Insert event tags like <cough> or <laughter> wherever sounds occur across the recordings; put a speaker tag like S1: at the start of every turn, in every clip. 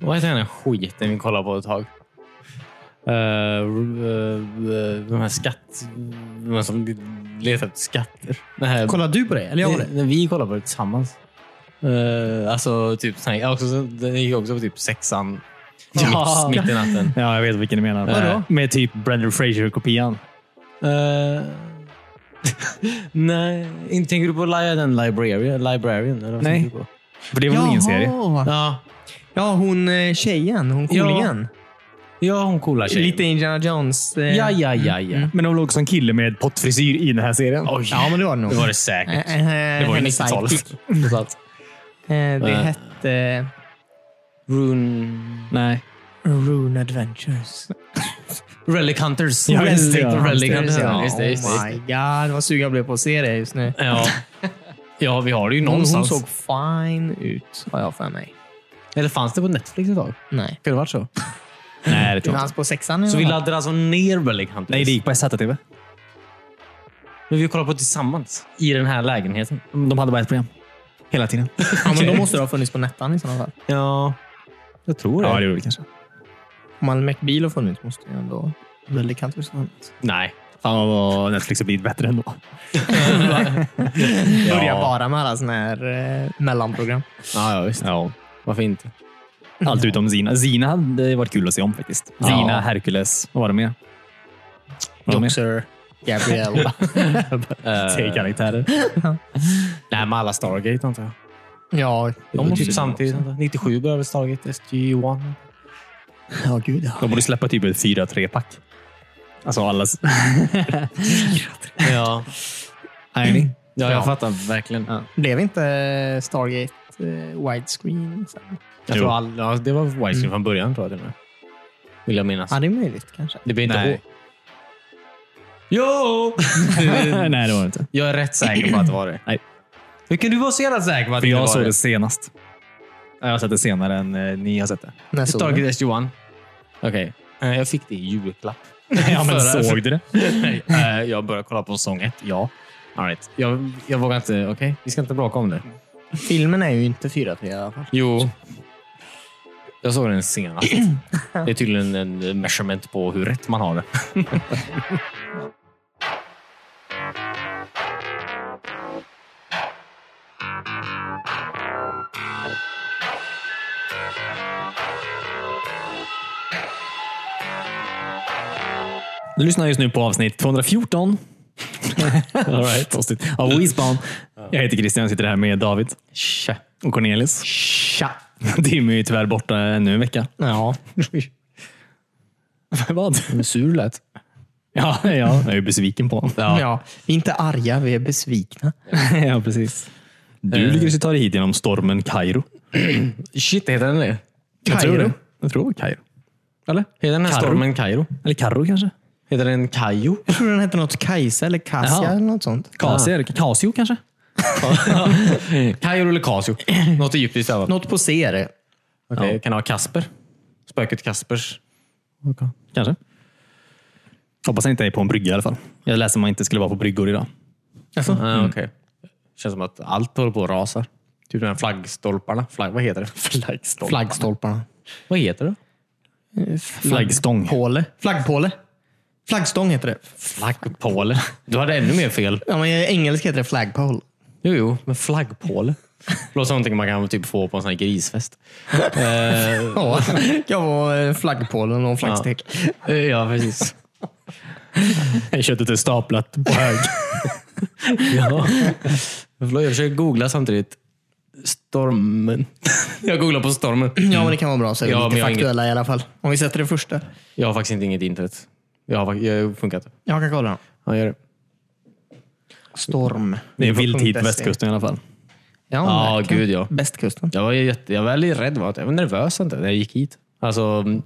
S1: Vad heter den här skiten vi kollade på ett tag? Eh, eh, eh, de här skatt... De här som letar efter skatter. Det här,
S2: Kollar du på det? Eller jag på det?
S1: vi, vi kollade på det tillsammans. Eh, alltså, typ, sån här- också, den gick också på typ sexan. Typ
S2: Ja.
S1: Mitt, mitt i natten.
S3: Ja, jag vet vilken du menar.
S2: Vadå?
S3: Med typ Brendan Fraser-kopian.
S1: Eh, <laughs> nej, inte tänker du på Laia den librarian? librarian eller vad
S2: Nej.
S1: tänker du på?
S3: För det är väl ingen serie?
S1: Ja,
S2: Ja, hon eh, tjejen. Hon
S1: Ja.
S2: coolingen.
S1: ja, hon coola tjejen.
S2: Lite Indiana Jones. eh.
S1: Ja, ja, ja. ja.
S3: Men de låg också en kille med pottfrisyr i den här serien.
S1: Oj.
S2: Ja, men det var det nog.
S1: Det var det säkert.
S2: Eh, eh,
S1: Det var ju
S2: hennes
S1: 90-talet.
S2: sidekick.
S1: Mm, Så att-
S2: Eh, Det
S1: Eh.
S2: hette eh,
S1: Rune...
S3: Nej.
S2: Rune Adventures.
S1: Relic Hunters.
S3: Ja, just det, ja.
S1: Relic Hunters. Ja, just det, just det,
S2: oh
S1: just
S2: my god, vad sugen jag blev på att se det just nu.
S1: det. Ja. ja, vi har det ju
S2: Hon, hon
S1: någonstans.
S2: såg fine ut, har jag för mig.
S1: Eller fanns det på Netflix ett tag? Kan
S2: Nej.
S1: det ha varit så?
S3: Nej, det
S2: Det
S3: tror jag inte.
S2: fanns på sexan i
S1: Så vi
S2: alla fall.
S1: laddar alltså ner Relic Hunters?
S3: Nej, det gick på SVT-TV.
S1: Men vi kollar på tillsammans i den här lägenheten.
S3: De hade bara ett program. Hela tiden.
S2: Ja,
S1: <laughs>
S2: men då måste det ha funnits på Nettan i sådana fall.
S1: Ja, jag tror det.
S3: Ja, det gjorde det kanske.
S2: Om Al McBeal har funnits måste ju ändå Väldigt Countries ha funnits.
S1: Nej.
S3: Fan vad Netflix har blivit bättre ändå.
S2: Börja bara med alla såna här eh, mellanprogram.
S1: Ja, ja, visst.
S3: Ja.
S1: Varför inte?
S3: Allt utom Zina. Zina hade varit kul att se om faktiskt.
S1: Ja.
S3: Zina, Hercules. Vad var det mer? Vad var det mer?
S2: Doxer, Gabrielle. <laughs> Eh.
S3: Tre karaktärer.
S1: Nej, men alla Stargate antar jag.
S2: ja,
S1: De måste typ samtidigt. antar jag. 97 började väl Stargate SG-1.
S2: Ja, gud ja.
S3: De borde släppa typ ett 4-3-pack. Alltså allas...
S1: Ja.
S3: <laughs> Nej.
S1: ja,
S2: Ja.
S1: jag fattar verkligen.
S3: Ja.
S2: Blev inte Stargate eh, widescreen sen?
S1: Jag
S3: Jo.
S1: tror all, ja, det var Wising från början tror jag till och med. Vill jag minnas.
S2: Ja, det är möjligt kanske.
S1: Det blir inte
S3: Nej.
S1: H. Jo!
S3: <laughs> Nej, det var det inte.
S1: jag är rätt säker på att det var <clears throat> det.
S3: Nej.
S1: Hur kan du vara så jävla säker på att
S3: För
S1: det
S3: jag
S1: var
S3: såg
S1: det?
S3: det senast. Jag har sett det senare än eh, ni har sett det.
S2: När såg du?
S1: Stargate SG-1. Okej. Eh, Jag fick det i <laughs> julklapp.
S3: Ja, men
S1: Förra-
S3: såg du det?
S1: Nej, eh, jag började kolla på säsong ett, ja. All right. jag, jag vågar inte. Okej, vi ska inte bråka om det.
S2: Filmen är ju inte 4-3 i alla fall.
S1: Jo. Jag såg den <clears throat> senast. Det är tydligen en measurement på hur rätt man har det.
S3: Du lyssnar just nu på avsnitt 214 <laughs> All right. avsnitt av Weezbound. Jag heter Christian och sitter här med David
S1: Tja.
S3: och Cornelis. Tja! Timmy är tyvärr borta ännu en vecka.
S2: Ja.
S3: <laughs>
S2: <laughs>
S3: Vad?
S1: Sur lät.
S3: Ja, ja, jag är ju besviken på honom.
S2: Ja. Vi är inte arga, vi är besvikna.
S3: <laughs> ja, precis. Du lyckades ju ta dig hit genom stormen Kairo.
S1: Shit, heter den det?
S3: Jag tror
S2: Kairo?
S3: det. Jag tror det var Kairo. Eller?
S1: Heter den här
S3: Kairo.
S1: stormen Kairo?
S3: Eller Karro kanske?
S1: Heter den Kajo?
S2: Jag tror den hette något Kajsa eller Kasia
S3: Jaha.
S2: eller något sånt.
S3: Kasier? Kasio kanske?
S1: <laughs> Kairo eller Casio? Något egyptiskt övat.
S2: Något på C är det.
S1: Okej, Kan det vara Kasper? Spöket Kaspers?
S3: Kanske. Hoppas han inte är på en brygga i alla fall. Jag läste att man inte skulle vara på bryggor idag.
S2: Alltså,
S3: Mm.
S1: Ah, okej. Känns som att allt håller på att rasa. Typ de här flaggstolparna. Flagg, vad heter det? <laughs> Flaggstolp.
S2: Flaggstolparna.
S1: Vad heter det?
S3: Eh, Flaggstång.
S2: Påle. Flaggpåle. Flaggstång heter det.
S1: Flaggpåle. Du hade ännu mer fel.
S2: Ja, men I engelska heter det flagpole.
S1: Jo, jo, men flaggpåle. Låter som någonting man kan typ få på en sån här grisfest. <laughs>
S2: Ja, jag var eh, flaggpålen och en flaggstek.
S1: Eh, Ja, precis.
S3: Köttet är staplat på hög.
S1: <laughs> Ja. Jag försöker googla samtidigt. Stormen. Jag googlar på stormen.
S2: Ja, men det kan vara bra så är vi
S1: Ja, men
S2: lite
S1: jag har
S2: faktuella i alla fall. Om vi sätter det första.
S1: Jag har faktiskt inte inget internet. Jag har, fak- jag har funkat.
S2: Jag kan kolla den.
S1: Ja, gör det.
S2: Storm.
S3: Det är vilt hit på västkusten i alla fall.
S2: Ja,
S1: Ja,
S2: verkligen.
S1: gud, ja.
S2: Bästkusten.
S1: Jag var, ju jätte, jag var väldigt rädd. va? Jag var nervös inte, när jag gick hit. Alltså, mm,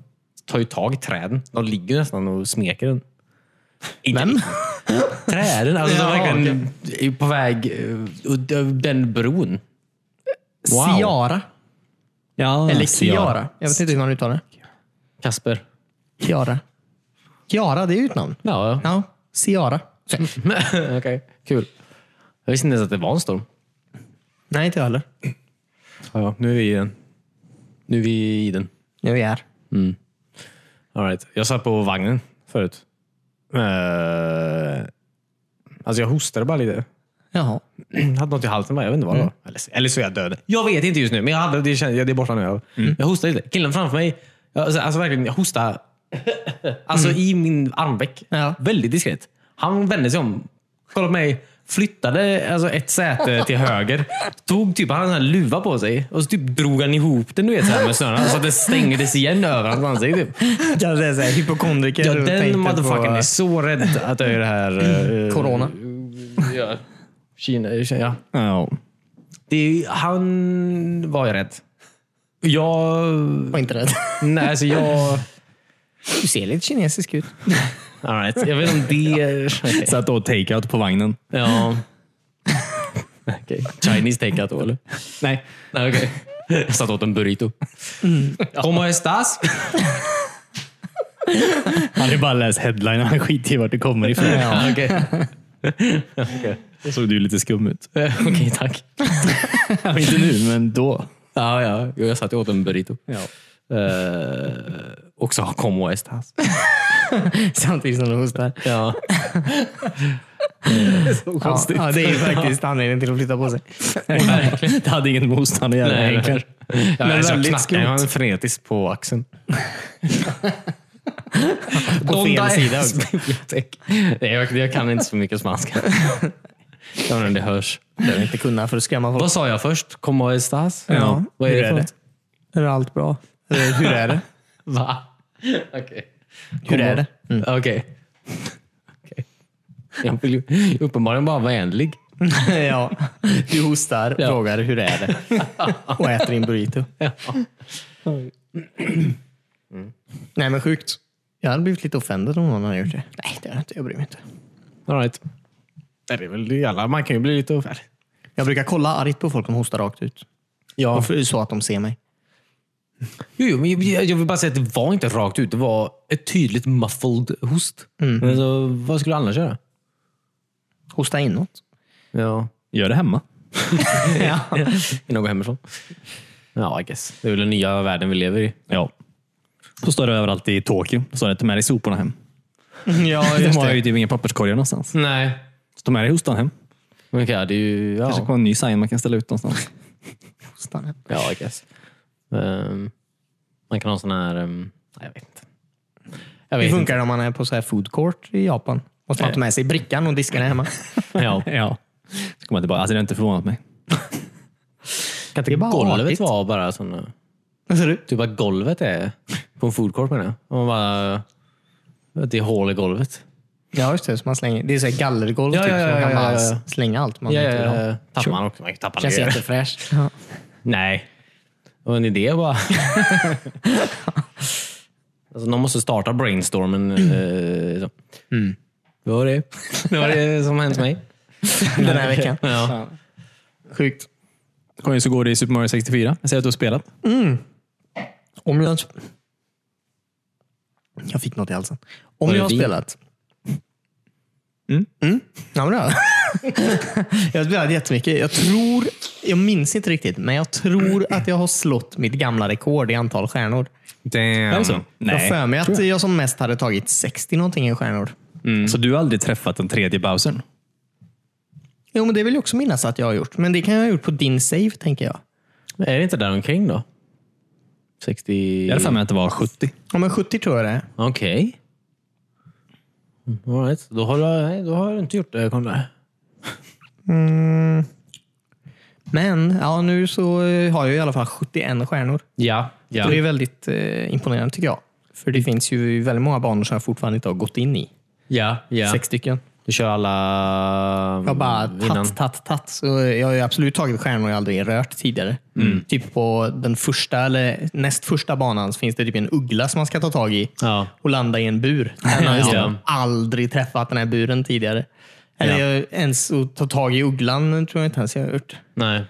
S1: tar ju tag i träden. De ligger nästan och smeker den.
S2: Vem?
S1: Träden? Alltså, de
S2: Ja,
S1: är verkligen är på väg... eh, och d- Den bron.
S2: Ciara.
S3: Ja,
S2: Eller Kiara. Jag vet inte hur man uttalar det.
S1: Kasper.
S2: Kiara. Kiara, det är ju ett namn.
S1: Ja,
S2: Ja, Ciara.
S1: <laughs> okej. Kul. Jag visste inte ens att det var en storm.
S2: Nej, inte jag heller.
S1: Ja, nu är vi i den. Nu är vi i den.
S2: Nu är.
S1: Mm. All right. Jag satt på vagnen förut. Eh, alltså jag hostade bara lite. <laughs>
S2: Jaha.
S1: Jag <clears throat> hade något i halsen, bara, jag vet inte vad
S2: Mm.
S1: det var. Eller, eller så är jag död. Jag vet inte just nu, men jag hade, det, känns- det är borta nu. Jag,
S2: Mm.
S1: jag hostade lite. Killen framför mig, jag- alltså, alltså verkligen, jag hostade alltså, i min armveck.
S2: Mm. Ja.
S1: Väldigt diskret. Han vände sig om, kollade på mig, flyttade alltså, ett säte till höger. Tog typ, han hade en sån här luva på sig och så typ drog han ihop den du vet, så här med snörena så att den stängdes igen över hans ansikte. Typ.
S2: Jag säger såhär, hypokondriker.
S1: Ja,
S2: och
S1: den
S2: tänkte
S1: motherfuckern
S2: på- Mm.
S1: är så rädd att det är det här... eh,
S2: Corona.
S1: Ja. Kina, Kina, ja.
S3: Ja.
S1: Det är, ju- han var jag rädd. Jag...
S2: Var inte rädd.
S1: Nej, alltså jag...
S2: Du ser lite kinesisk ut.
S1: All right. Jag vet inte om det... är-
S3: Satt och take-out på vagnen.
S1: ja. Okej. Chinese take-out då, eller?
S3: Nej.
S1: Nej, Mm. okej. Jag satt åt en burrito. Como estas?
S3: Han hade bara läst headlinen. Han skiter i vart det kommer ifrån.
S1: Ja, okej.
S3: Då såg du lite skum ut.
S1: Eh, <laughs> Okej, tack.
S3: Ja, inte nu, men då.
S1: Ja, ja. Jo, Jag satt och åt en burrito. Eh, också como estas.
S2: Samtidigt som du <laughs> hostar.
S1: <laughs> Ja.
S2: Ja, ja, det är ju faktiskt anledningen till att flytta <laughs> på sig.
S3: Verkligen. Det hade ingen motstånd att göra
S1: Nej,
S3: egentligen.
S1: Ja,
S2: Men
S1: alltså, jag
S2: väldigt
S1: knackade
S2: skumt.
S1: han frenetiskt på axeln.
S2: På
S1: <laughs>
S2: fel sida också.
S1: bibliotek. Nej, jag, jag kan inte så mycket spanska. <laughs> Jag undrar om det hörs.
S2: behöver inte kunna för att skrämma folk.
S1: Vad sa jag först? Como estas?
S2: Ja.
S1: Vad är
S2: Hur
S1: det
S2: är
S1: för
S2: det?
S1: något?
S2: Är allt bra? Eller Eh, Hur är det?
S1: Va? <laughs> Okej. Mm.
S2: Hur är det?
S1: Okej. <laughs> Okej. Jag vill ju uppenbarligen bara vara vänlig.
S2: <laughs> ja. Du hostar,
S1: Ja.
S2: frågar hur är det? <laughs> Och äter din burrito. <clears throat> Mm. Nej men sjukt. Jag hade blivit lite offended om någon hade gjort det. Nej, det är inte. Jag bryr mig inte.
S1: All right. Det är väl det alla. Man kan ju bli lite offentlig.
S2: Jag brukar kolla argt på folk som hostar rakt ut.
S1: Ja.
S2: Och för- Så att de ser mig.
S1: Jo, jo, men jag jag vill bara säga att det var inte rakt ut. Det var ett tydligt muffled host. Men Alltså, vad skulle du annars göra?
S2: Hosta inåt.
S1: Ja.
S3: Gör det hemma.
S2: <laughs> ja.
S1: Innan jag går hemifrån. Ja, I guess. Det är väl den nya världen vi lever i.
S3: Ja. Så står det överallt i Tokyo. Så står det ta med dig soporna hem.
S2: ja,
S3: De
S2: just
S3: har
S2: det.
S3: ju typ inga papperskorgar någonstans.
S1: Nej.
S3: Så ta med dig hostan hem.
S1: Okej, det är ju...
S3: Kanske
S1: Ja,
S3: kommer en ny sign man kan ställa ut någonstans.
S2: Hosta inåt.
S1: ja I guess. Ehm, man kan ha sån här... ehm, nej, jag vet inte. Jag
S2: Hur
S1: vet inte.
S2: funkar det om man är på så här food court i Japan? Måste man ta med sig brickan och diskarna
S1: <laughs>
S2: hemma?
S1: <laughs> Ja.
S3: Ja. Så kommer jag tillbaka. Alltså, det har inte förvånat mig.
S1: Kan
S2: Det
S1: inte
S2: är bara
S1: golvet
S2: artigt.
S1: vara bara sån...
S2: Vad sa du?
S1: Typ att golvet är på en food court menar jag. Om Man bara... Att det är hål i golvet.
S2: Ja, just det. Så man slänger. Det är så här gallergolv.
S1: Ja,
S2: typ,
S1: ja,
S2: så
S1: ja,
S2: man kan
S1: ja,
S2: bara
S1: ja, ja.
S2: slänga allt man
S1: Ja,
S2: inte
S1: ja,
S2: vill ha.
S1: ja. Tappar man också. Man kan tappa
S2: Känns
S1: ner.
S2: jättefräscht. Ja.
S1: Nej. Det var en idé bara. <laughs> alltså, någon måste starta brainstormen. Eh, så. Det var det. Det var det som hänt mig.
S2: Den här veckan.
S1: Ja.
S2: Sjukt.
S3: Kommer så går det i Super Mario 64. Jag säger att du har spelat.
S2: Om jag... Jag fick något i halsen. Om
S1: Var det
S2: jag har
S1: vin?
S2: spelat... Mm. Ja, men det har jag. <laughs> jag har spelat jättemycket. Jag tror... Jag minns inte riktigt, men jag tror att jag har slått mitt gamla rekord i antal stjärnor.
S1: Damn.
S3: Är det så?
S2: jag har för mig att jag. som mest hade tagit 60 någonting i stjärnor.
S3: Mm. Så du har aldrig träffat den tredje Bowsern?
S2: Jo, men det vill jag också minnas att jag har gjort. Men det kan jag ha gjort på din save, tänker jag.
S1: Är det inte där omkring då? 60...
S3: Jag hade för mig att det var 70.
S2: Ja, men 70 tror jag det är.
S1: Okej. Mm, All right. Då har jag, nej, då har jag inte gjort det. Kolla.
S2: Men ja, nu så eh, har jag i alla fall 71 stjärnor.
S1: Ja. ja. Mm.
S2: Det är väldigt eh, imponerande tycker jag. För det finns ju väldigt många banor som jag fortfarande inte har gått in i.
S1: ja, ja.
S2: Sex stycken.
S1: Du kör alla...
S2: Jag har bara
S1: innan.
S2: tatt, tatt, tatt. Så jag har ju absolut tagit stjärnor jag aldrig rört tidigare.
S1: Mm.
S2: Typ på den första eller näst första banan så finns det typ en uggla som man ska ta tag i
S1: Ja.
S2: och landa i
S1: <laughs>
S2: en bur. Den har
S1: Ja.
S2: jag aldrig träffat den här buren tidigare. Eller jag, ens att ta tag i ugglan tror jag inte ens jag har gjort.
S1: Nej.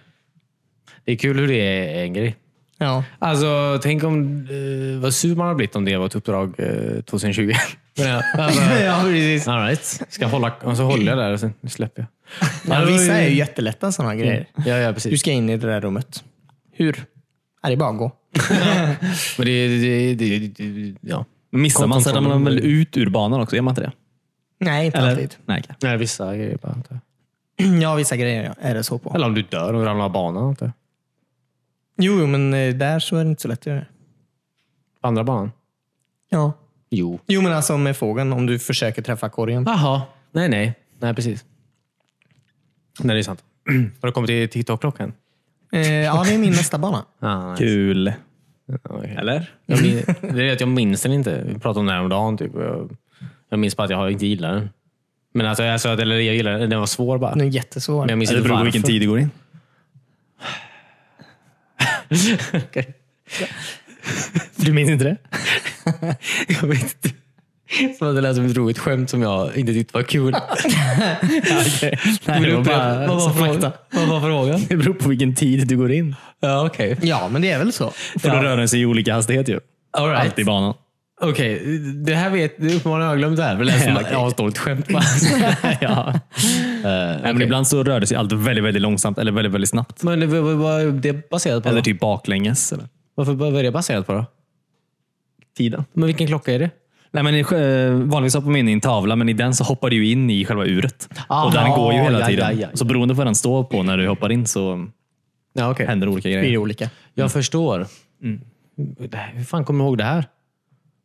S1: Det är kul hur det är en grej.
S2: Ja.
S1: Alltså, tänk om eh, vad sur man har blivit om det var ett uppdrag eh, 2020. Men <laughs> ja, alltså,
S2: ja, precis.
S1: all right. Ska jag hålla, och så håller jag där och sen släpper jag. Mm.
S2: Ja, vissa är ju jättelätta sådana grejer.
S1: Ja, ja,
S2: Du
S1: precis.
S2: ska in i det där rummet. Hur? Ja, det är bara att gå.
S3: Men det, det, det, det, ja. Missar man så ramlar man väl ut ur banan också? Gör man inte det?
S2: Nej, inte alltid. <clears throat>
S3: Nej, okej.
S1: Nej, vissa grejer bara inte.
S2: Ja, vissa grejer ja, är det så på.
S1: Eller om du dör och ramlar av banan. Inte.
S2: Jo, jo, men eh, där så är det inte så lätt att göra det.
S1: På andra banan.
S2: Ja.
S1: Jo.
S2: Jo, men alltså med fågeln, om du försöker träffa korgen.
S1: Jaha. Nej, nej. Nej, precis. Nej, det är sant. <clears throat> Har du kommit till TikTok-klockan?
S2: Eh, ja, det är min nästa bana.
S1: Ah, nej.
S3: Kul.
S1: Okej.
S3: Eller?
S1: Jag min- det är att jag minns den inte. Vi pratade om den häromdagen. Typ. Jag, jag minns bara att jag inte gillar den. Men alltså, alltså, eller jag gillar den. Den var svår bara.
S2: Den
S1: Men
S2: är jättesvår.
S1: jag minns
S3: Det
S1: inte
S3: beror
S1: varför.
S3: på vilken tid det går in.
S1: Okej.
S3: Du minns inte det?
S1: <laughs>
S2: <laughs>
S1: Jag vet inte. Som att det lät som ett roligt skämt som jag inte tyckte var
S3: <laughs>
S1: kul.
S3: Nej, det var bara
S1: vad, var frågan? vad var frågan?
S3: <laughs> Det beror på vilken tid du går in.
S1: Ja, okej.
S2: Ja, men det är väl så.
S3: För då rör den sig i olika hastighet ju.
S1: All right.
S3: Allt i banan.
S1: Okej, det här vet du uppenbarligen har jag glömt det här. För det lät som att jag har ett dåligt skämt.
S3: <laughs>
S1: bara.
S3: <laughs> ja. Nej, men ibland så rör det sig allt väldigt, väldigt långsamt eller väldigt, väldigt snabbt.
S1: Men vad- vad vad är det baserat på?
S3: Eller
S1: Eller
S3: typ baklänges. Eller.
S1: Varför, vad är det baserat på då?
S3: Tiden.
S1: Men vilken klocka är det?
S3: Nej, men, eh, vanligtvis hoppar man in i en tavla, men i den så hoppar du ju in i själva uret. och den
S1: Aha,
S3: går ju hela
S1: ja,
S3: tiden.
S1: ja, ja, ja.
S3: Så beroende på vad den står på när du hoppar in så
S1: Ja, okej.
S3: händer olika
S2: Det
S3: grejer.
S2: är olika.
S1: Jag förstår. Mm. Det här- Hur fan kommer du ihåg det här?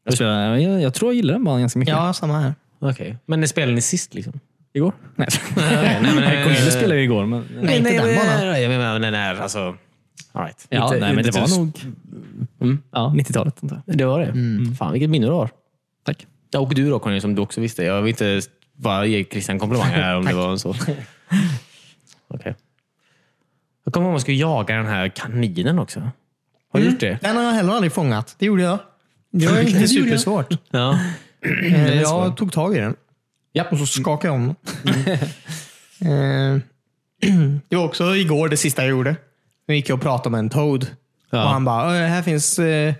S3: Jag, spelar, jag, jag tror jag gillar den banan ganska mycket.
S2: Ja, samma här.
S1: Okej. Men när spelade ni sist? Liksom?
S3: Igår? Nej. <laughs> nej,
S1: men, eh,
S3: Cornelius spelade ju igår. Men,
S2: Nej, inte den banan.
S1: Jag menar den här, alltså. All right.
S3: ja,
S1: Inte-
S3: nej, men
S1: inte
S3: det var
S1: så-
S3: nog ja, 90-talet. antar jag.
S1: Det var det? Mm. Fan vilket minne du har.
S3: Tack.
S1: Ja, och du då Conny, som du också visste. Jag vill inte bara ge Christian komplimanger här <laughs> om det var så. Okej. Jag kommer ihåg att man skulle jaga den här kaninen också. Har du gjort det?
S2: Den har jag heller aldrig fångat. Det gjorde jag. Det var inte supersvårt.
S1: Ja.
S2: Eh, Jag tog tag i den
S1: Japp.
S2: och så skakade jag om den. <laughs> Eh, <clears throat> Det var också igår det sista jag gjorde. Nu gick jag och pratade med en Toad. Och han bara, "Eh, här finns... Eh,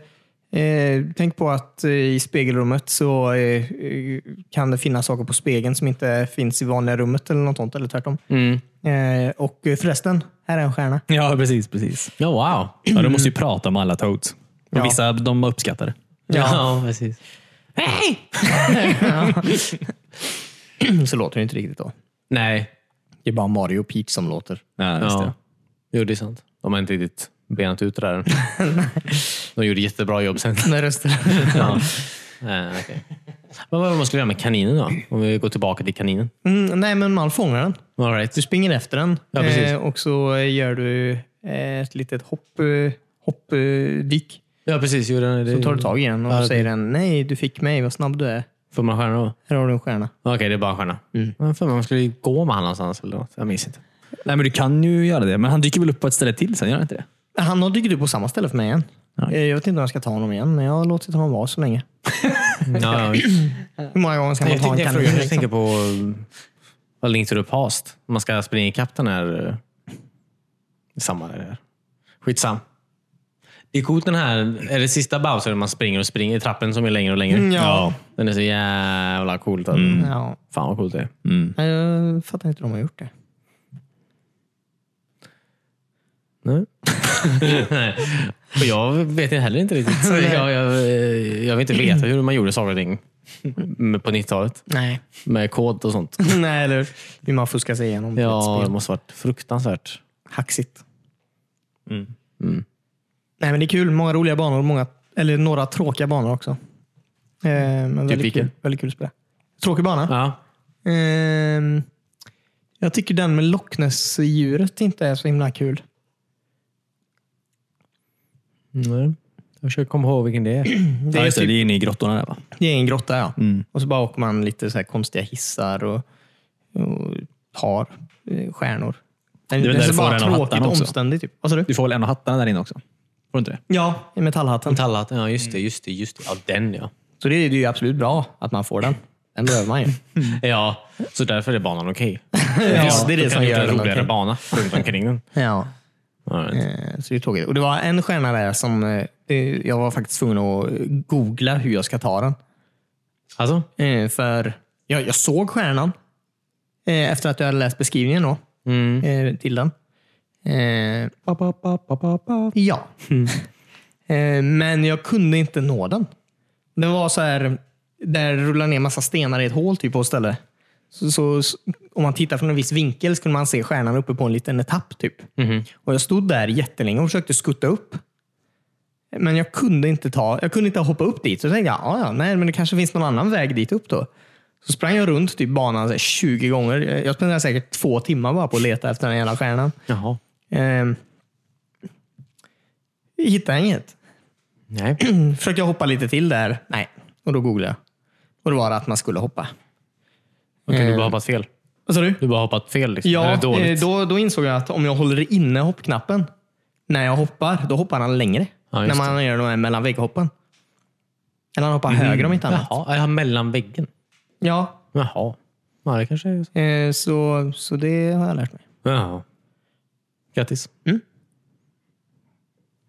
S2: eh, tänk på att eh, i spegelrummet så eh, eh, kan det finnas saker på spegeln som inte finns i vanliga rummet eller något sånt. Eller tvärtom. Eh, och eh, förresten, här är en stjärna. <clears throat>
S3: Ja, precis. precis.
S1: Ja, wow.
S3: Ja, du måste ju prata med alla toads. Och
S2: Ja.
S3: Vissa de uppskattar det.
S1: Ja, precis.
S2: Så låter det inte riktigt då.
S1: Nej.
S2: Det är bara Mario och Peach som låter.
S3: Ja, just
S1: Ja.
S3: det.
S1: Jo, det är sant. De har inte riktigt benat ut det där <laughs> än. De gjorde jättebra jobb <laughs> sen.
S2: När röster.
S1: Ja. Eh, okej. Men vad var det man skulle göra med kaninen då? Om vi går tillbaka till kaninen.
S2: <laughs> Mm, nej, men man fångar den.
S1: All right.
S2: Du springer efter den
S1: Ja, precis.
S2: eh, och så gör du eh, ett litet hopp, eh, hopp, eh, dyk.
S1: Ja, precis. Jo, den,
S2: Så tar du tag i den och
S1: Ja,
S2: så
S1: det-
S2: säger den nej, du fick mig, vad snabb du är.
S1: Får man stjärna då?
S2: Här har du en stjärna.
S1: Okej, det är bara en stjärna. Mm. För man skulle ju gå med han någonstans eller något. Jag minns inte.
S3: Nej, men du kan ju göra det. Men han dyker väl upp på ett ställe till sen, gör han inte det?
S2: Han har dykt upp på samma ställe för mig igen. Eh, Jag vet inte om jag ska ta honom igen, men jag har låtit honom vara så länge.
S1: Ja, ja.
S2: Hur många gånger ska man
S1: Jag
S2: ta en
S1: tänkte, jag,
S2: kanin?
S1: frågar, jag
S2: liksom?
S1: tänker på eh, vad Link to the Past. Man ska springa ikapp den här... eh, Samma är det här. Skitsam. Det är coolt den här, är det sista Bowser när man springer och springer i trappen som är längre och längre?
S2: Mm, ja.
S1: Den är så jävla coolt. Att,
S2: Ja.
S1: Fan vad coolt det är.
S2: Nej, Jag fattar inte hur de har gjort det.
S1: Nej. Nej. Och jag vet ju heller inte riktigt. Så jag, jag, jag vill inte veta hur man gjorde saker och ting på 90-talet.
S2: Nej,
S1: Med kod och sånt.
S2: <laughs> nej eller hur? Hur man fuskar sig igenom
S1: Ja,
S2: ett
S1: det
S2: spel.
S1: måste varit fruktansvärt.
S2: Hacksigt. Nej, men det är kul. Många roliga banor. Många, eller några tråkiga banor också. Eh, men väldigt,
S1: vilken?
S2: kul, väldigt kul att spela. Tråkig bana?
S1: Ja.
S2: Ehm, jag tycker den med Loch Ness-djuret inte är så himla kul.
S1: Nej. Jag försöker komma ihåg vilken det <clears throat> är.
S2: Det är,
S3: just det.
S2: typ,
S3: Det är inne i grottorna där va?
S2: det är en grotta ja.
S3: Mm.
S2: Och så bara åker man lite så här konstiga hissar och, och tar eh, stjärnor. Den,
S3: Det är
S2: den
S3: väl där
S2: ser
S3: du får
S2: bara
S3: den av
S2: tråkigt
S3: hattarna
S2: och
S3: också.
S2: omständig ut. Vad sa du?
S3: Du får väl en av hattarna där inne också? Får du inte det?
S2: Ja, i metallhatten.
S1: Metallhatten, ja just det, just det, just det. Ja, den ja.
S2: Så det är det är ju absolut bra att man får den. Den behöver man ju.
S3: <laughs>
S1: Ja, så därför är banan okej.
S2: ja, det är
S1: Då
S2: det
S1: kan
S2: som
S1: du göra
S2: gör
S1: en
S2: den
S1: roligare
S2: okej.
S1: bana runt omkring den.
S2: Ja.
S1: All right.
S2: Eh, Så det är tråkigt. Och det var en stjärna där som eh, eh, jag var faktiskt tvungen att googla hur jag ska ta den.
S1: Alltså?
S2: Eh, För jag, jag Mm. såg stjärnan eh, efter att jag hade läst beskrivningen då, eh, till den. Eh,
S3: Pa, pa, pa, pa, pa, pa. <laughs>
S2: ja. Eh, men jag kunde inte nå den. Det var så här, där rullar ner massa stenar i ett hål typ på ett ställe. Så, så, s- om man tittar från en viss vinkel så kunde man se stjärnan uppe på en liten etapp. typ.
S1: Mhm.
S2: Och Jag stod där jättelänge och försökte skutta upp. Men jag kunde inte ta, jag kunde inte hoppa upp dit. Så tänkte jag, "Ja, ja, nej, men det kanske finns någon annan väg dit upp då. Så sprang jag runt typ banan så här, 20 gånger. Jag spenderade säkert två timmar bara på att leta efter den jävla stjärnan.
S1: Jaha.
S2: Ehm, jag hittade inget. Mm,
S1: Nej. <clears throat>
S2: Försökte jag hoppa lite till där. Nej. Och då googlade jag. Och då var det att man skulle hoppa.
S1: Okej, du
S2: Eh.
S1: bara hoppat fel.
S2: Vad sa du?
S1: Du bara hoppat fel. Liksom.
S2: Ja,
S1: Eller dåligt.
S2: eh, då, då insåg jag att om jag håller inne hoppknappen när jag hoppar, då hoppar han längre.
S1: Ja,
S2: när
S1: just
S2: man gör de här mellan vägghoppen. Eller han hoppar högre om inte annat.
S1: Jaha, ja, mellan väggen.
S2: Ja,
S1: Jaha. Ja, det kanske är så.
S2: eh, så, så det har jag lärt mig.
S1: Jaha. Grattis.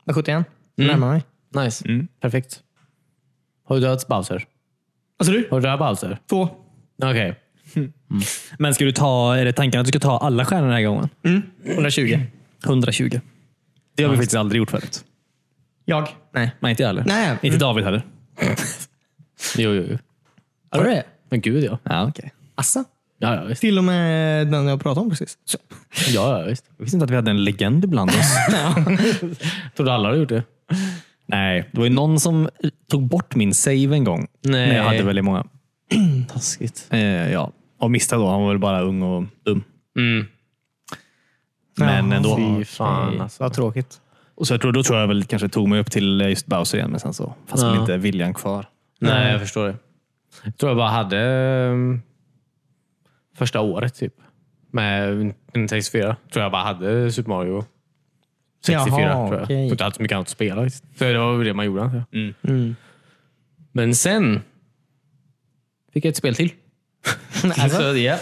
S2: Jag 71. Närmar mig.
S1: Nice. Perfekt. Har du dödat Bowser?
S2: Vad sa du?
S1: Har du dödat Bowser?
S2: Två.
S1: Okej.
S3: Men ska du ta, är det tanken att du ska ta alla stjärnor den här gången?
S2: 120.
S3: 120. Det har vi faktiskt aldrig gjort förut.
S2: Jag? Nej.
S3: Nej, inte jag heller.
S2: Nej.
S3: Inte David heller.
S1: Jo, jo, jo.
S2: Har du det?
S1: Men gud ja.
S3: Ja, okay.
S2: Assa?
S1: Ja, ja, visst.
S2: Till och med den jag pratade om precis. Så.
S1: Ja, ja, visst.
S3: Jag visste inte att vi hade en legend bland oss.
S1: Trodde alla hade gjort det.
S3: Nej, det var ju någon som tog bort min save en gång.
S1: Nej.
S3: När jag hade väldigt många.
S1: <clears throat> Taskigt.
S3: Eh, ja. Av misstag då. Han var väl bara ung och dum.
S1: Mm.
S3: Men
S2: Ja,
S3: ändå.
S1: Fy fan alltså.
S2: Vad tråkigt.
S3: Och så jag tror, då tror jag väl kanske tog mig upp till eh, just Bowser igen, men sen så fanns
S1: Ja.
S3: väl inte
S1: <laughs>
S3: viljan kvar.
S1: Nej, jag förstår det. Jag tror jag bara hade ehm, första året typ. Med Nintendo 64. Tror jag bara hade Super Mario 64.
S2: Jaha,
S1: tror jag.
S2: okej.
S1: jag. Inte alls så mycket annat att spela. faktiskt. Så det var väl det man gjorde. antar jag. Mm. Men sen fick jag ett spel till. <laughs>
S2: Alltså,
S1: Så, <laughs> ja.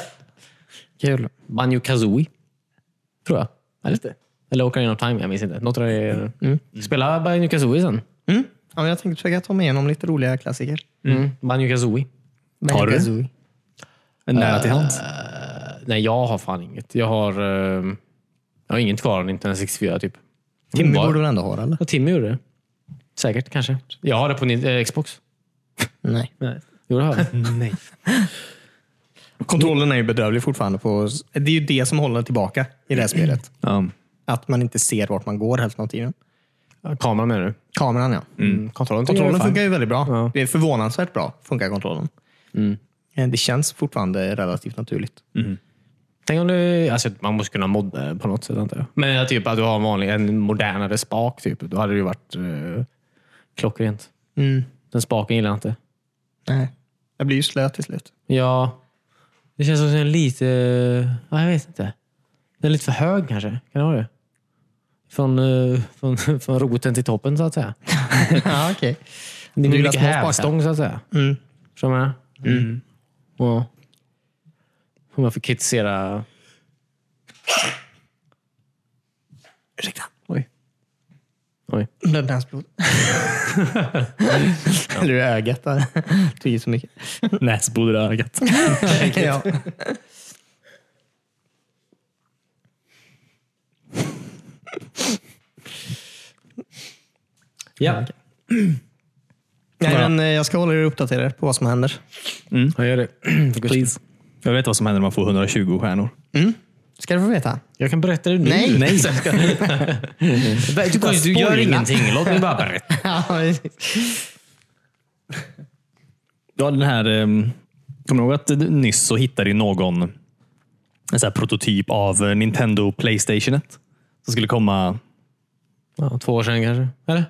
S2: kul.
S1: Banjo Kazooie. Tror jag. Eller inte. Eller Ocarina of Time, jag minns inte. Något av det. Mm. Spela Banjo Kazooie sen.
S2: Mm. Ja, men jag tänkte försöka ta mig igenom lite roliga klassiker.
S1: Mm. Banjo Kazooie.
S3: Har du det?
S2: Banjo-Kazooie.
S3: Nära
S2: Eh,
S3: till hands.
S1: Eh, Nej, jag har fan inget. Jag har, ehm, jag har inget kvar av Nintendo 64 typ.
S2: Timmy
S1: Var-
S2: borde väl ändå ha det, eller?
S1: Ja, Timmy gjorde det. Säkert, kanske. Jag har det på Ni- eh, Xbox.
S2: Nej.
S1: Jo, det har <laughs> jag.
S3: Nej.
S2: Kontrollen är ju bedrövlig fortfarande. På, det är ju det som håller tillbaka i det här spelet.
S3: Ja.
S2: Att man inte ser vart man går hälften av tiden.
S1: Kameran menar du?
S2: Kameran, ja.
S1: Mm. Kontrollen, tycker jag är
S2: Kontrollen
S1: fan.
S2: funkar ju väldigt bra.
S1: Ja. Mm.
S2: Det är förvånansvärt bra, funkar kontrollen. Eh, Det känns fortfarande relativt naturligt.
S1: Tänk om du, alltså, man måste kunna modda det på något sätt antar jag. Men jag typ att du har en, vanlig, en modernare spak typ. Då hade det ju varit eh, klockrent.
S2: Mm.
S1: Den spaken gillar jag inte.
S2: Nej. Jag blir ju slö
S1: <laughs>
S2: till slut.
S1: Ja, det känns som en lite... Ja, jag vet inte. Den är lite för hög kanske. Kan det vara det? Från, eh, från, <laughs> från roten till toppen så att säga.
S2: ja, okej.
S1: Det blir
S2: gillar
S1: mycket
S2: små spakar.
S1: hävstång så att säga.
S2: Mm.
S1: Förstår du vad jag menar? Ja. Om jag får kritisera...
S2: Ursäkta.
S1: Oj. Oj.
S2: Blödde
S1: <laughs>
S2: hans blod. Eller i ögat. där. Tog i så mycket.
S3: Näsblod i ögat.
S2: ja.
S1: Ja,
S2: Nej, men eh, jag ska hålla er uppdaterade på vad som händer.
S1: jag gör det. <clears throat>
S3: Please. Jag vet vad som händer när man får 120 stjärnor.
S2: Ska du få veta?
S1: Jag kan berätta det nu.
S2: Nej.
S3: <laughs>
S1: Nej. Så jag ska- du, kan- du gör
S2: Spoila. <laughs>
S1: ingenting. Låt mig bara berätta.
S3: Ja, den här, ehm, kommer du ihåg att eh, nyss så hittade ju någon en sån här prototyp av eh, Nintendo Playstationet som skulle komma
S1: Ja, två år sedan kanske. Eller?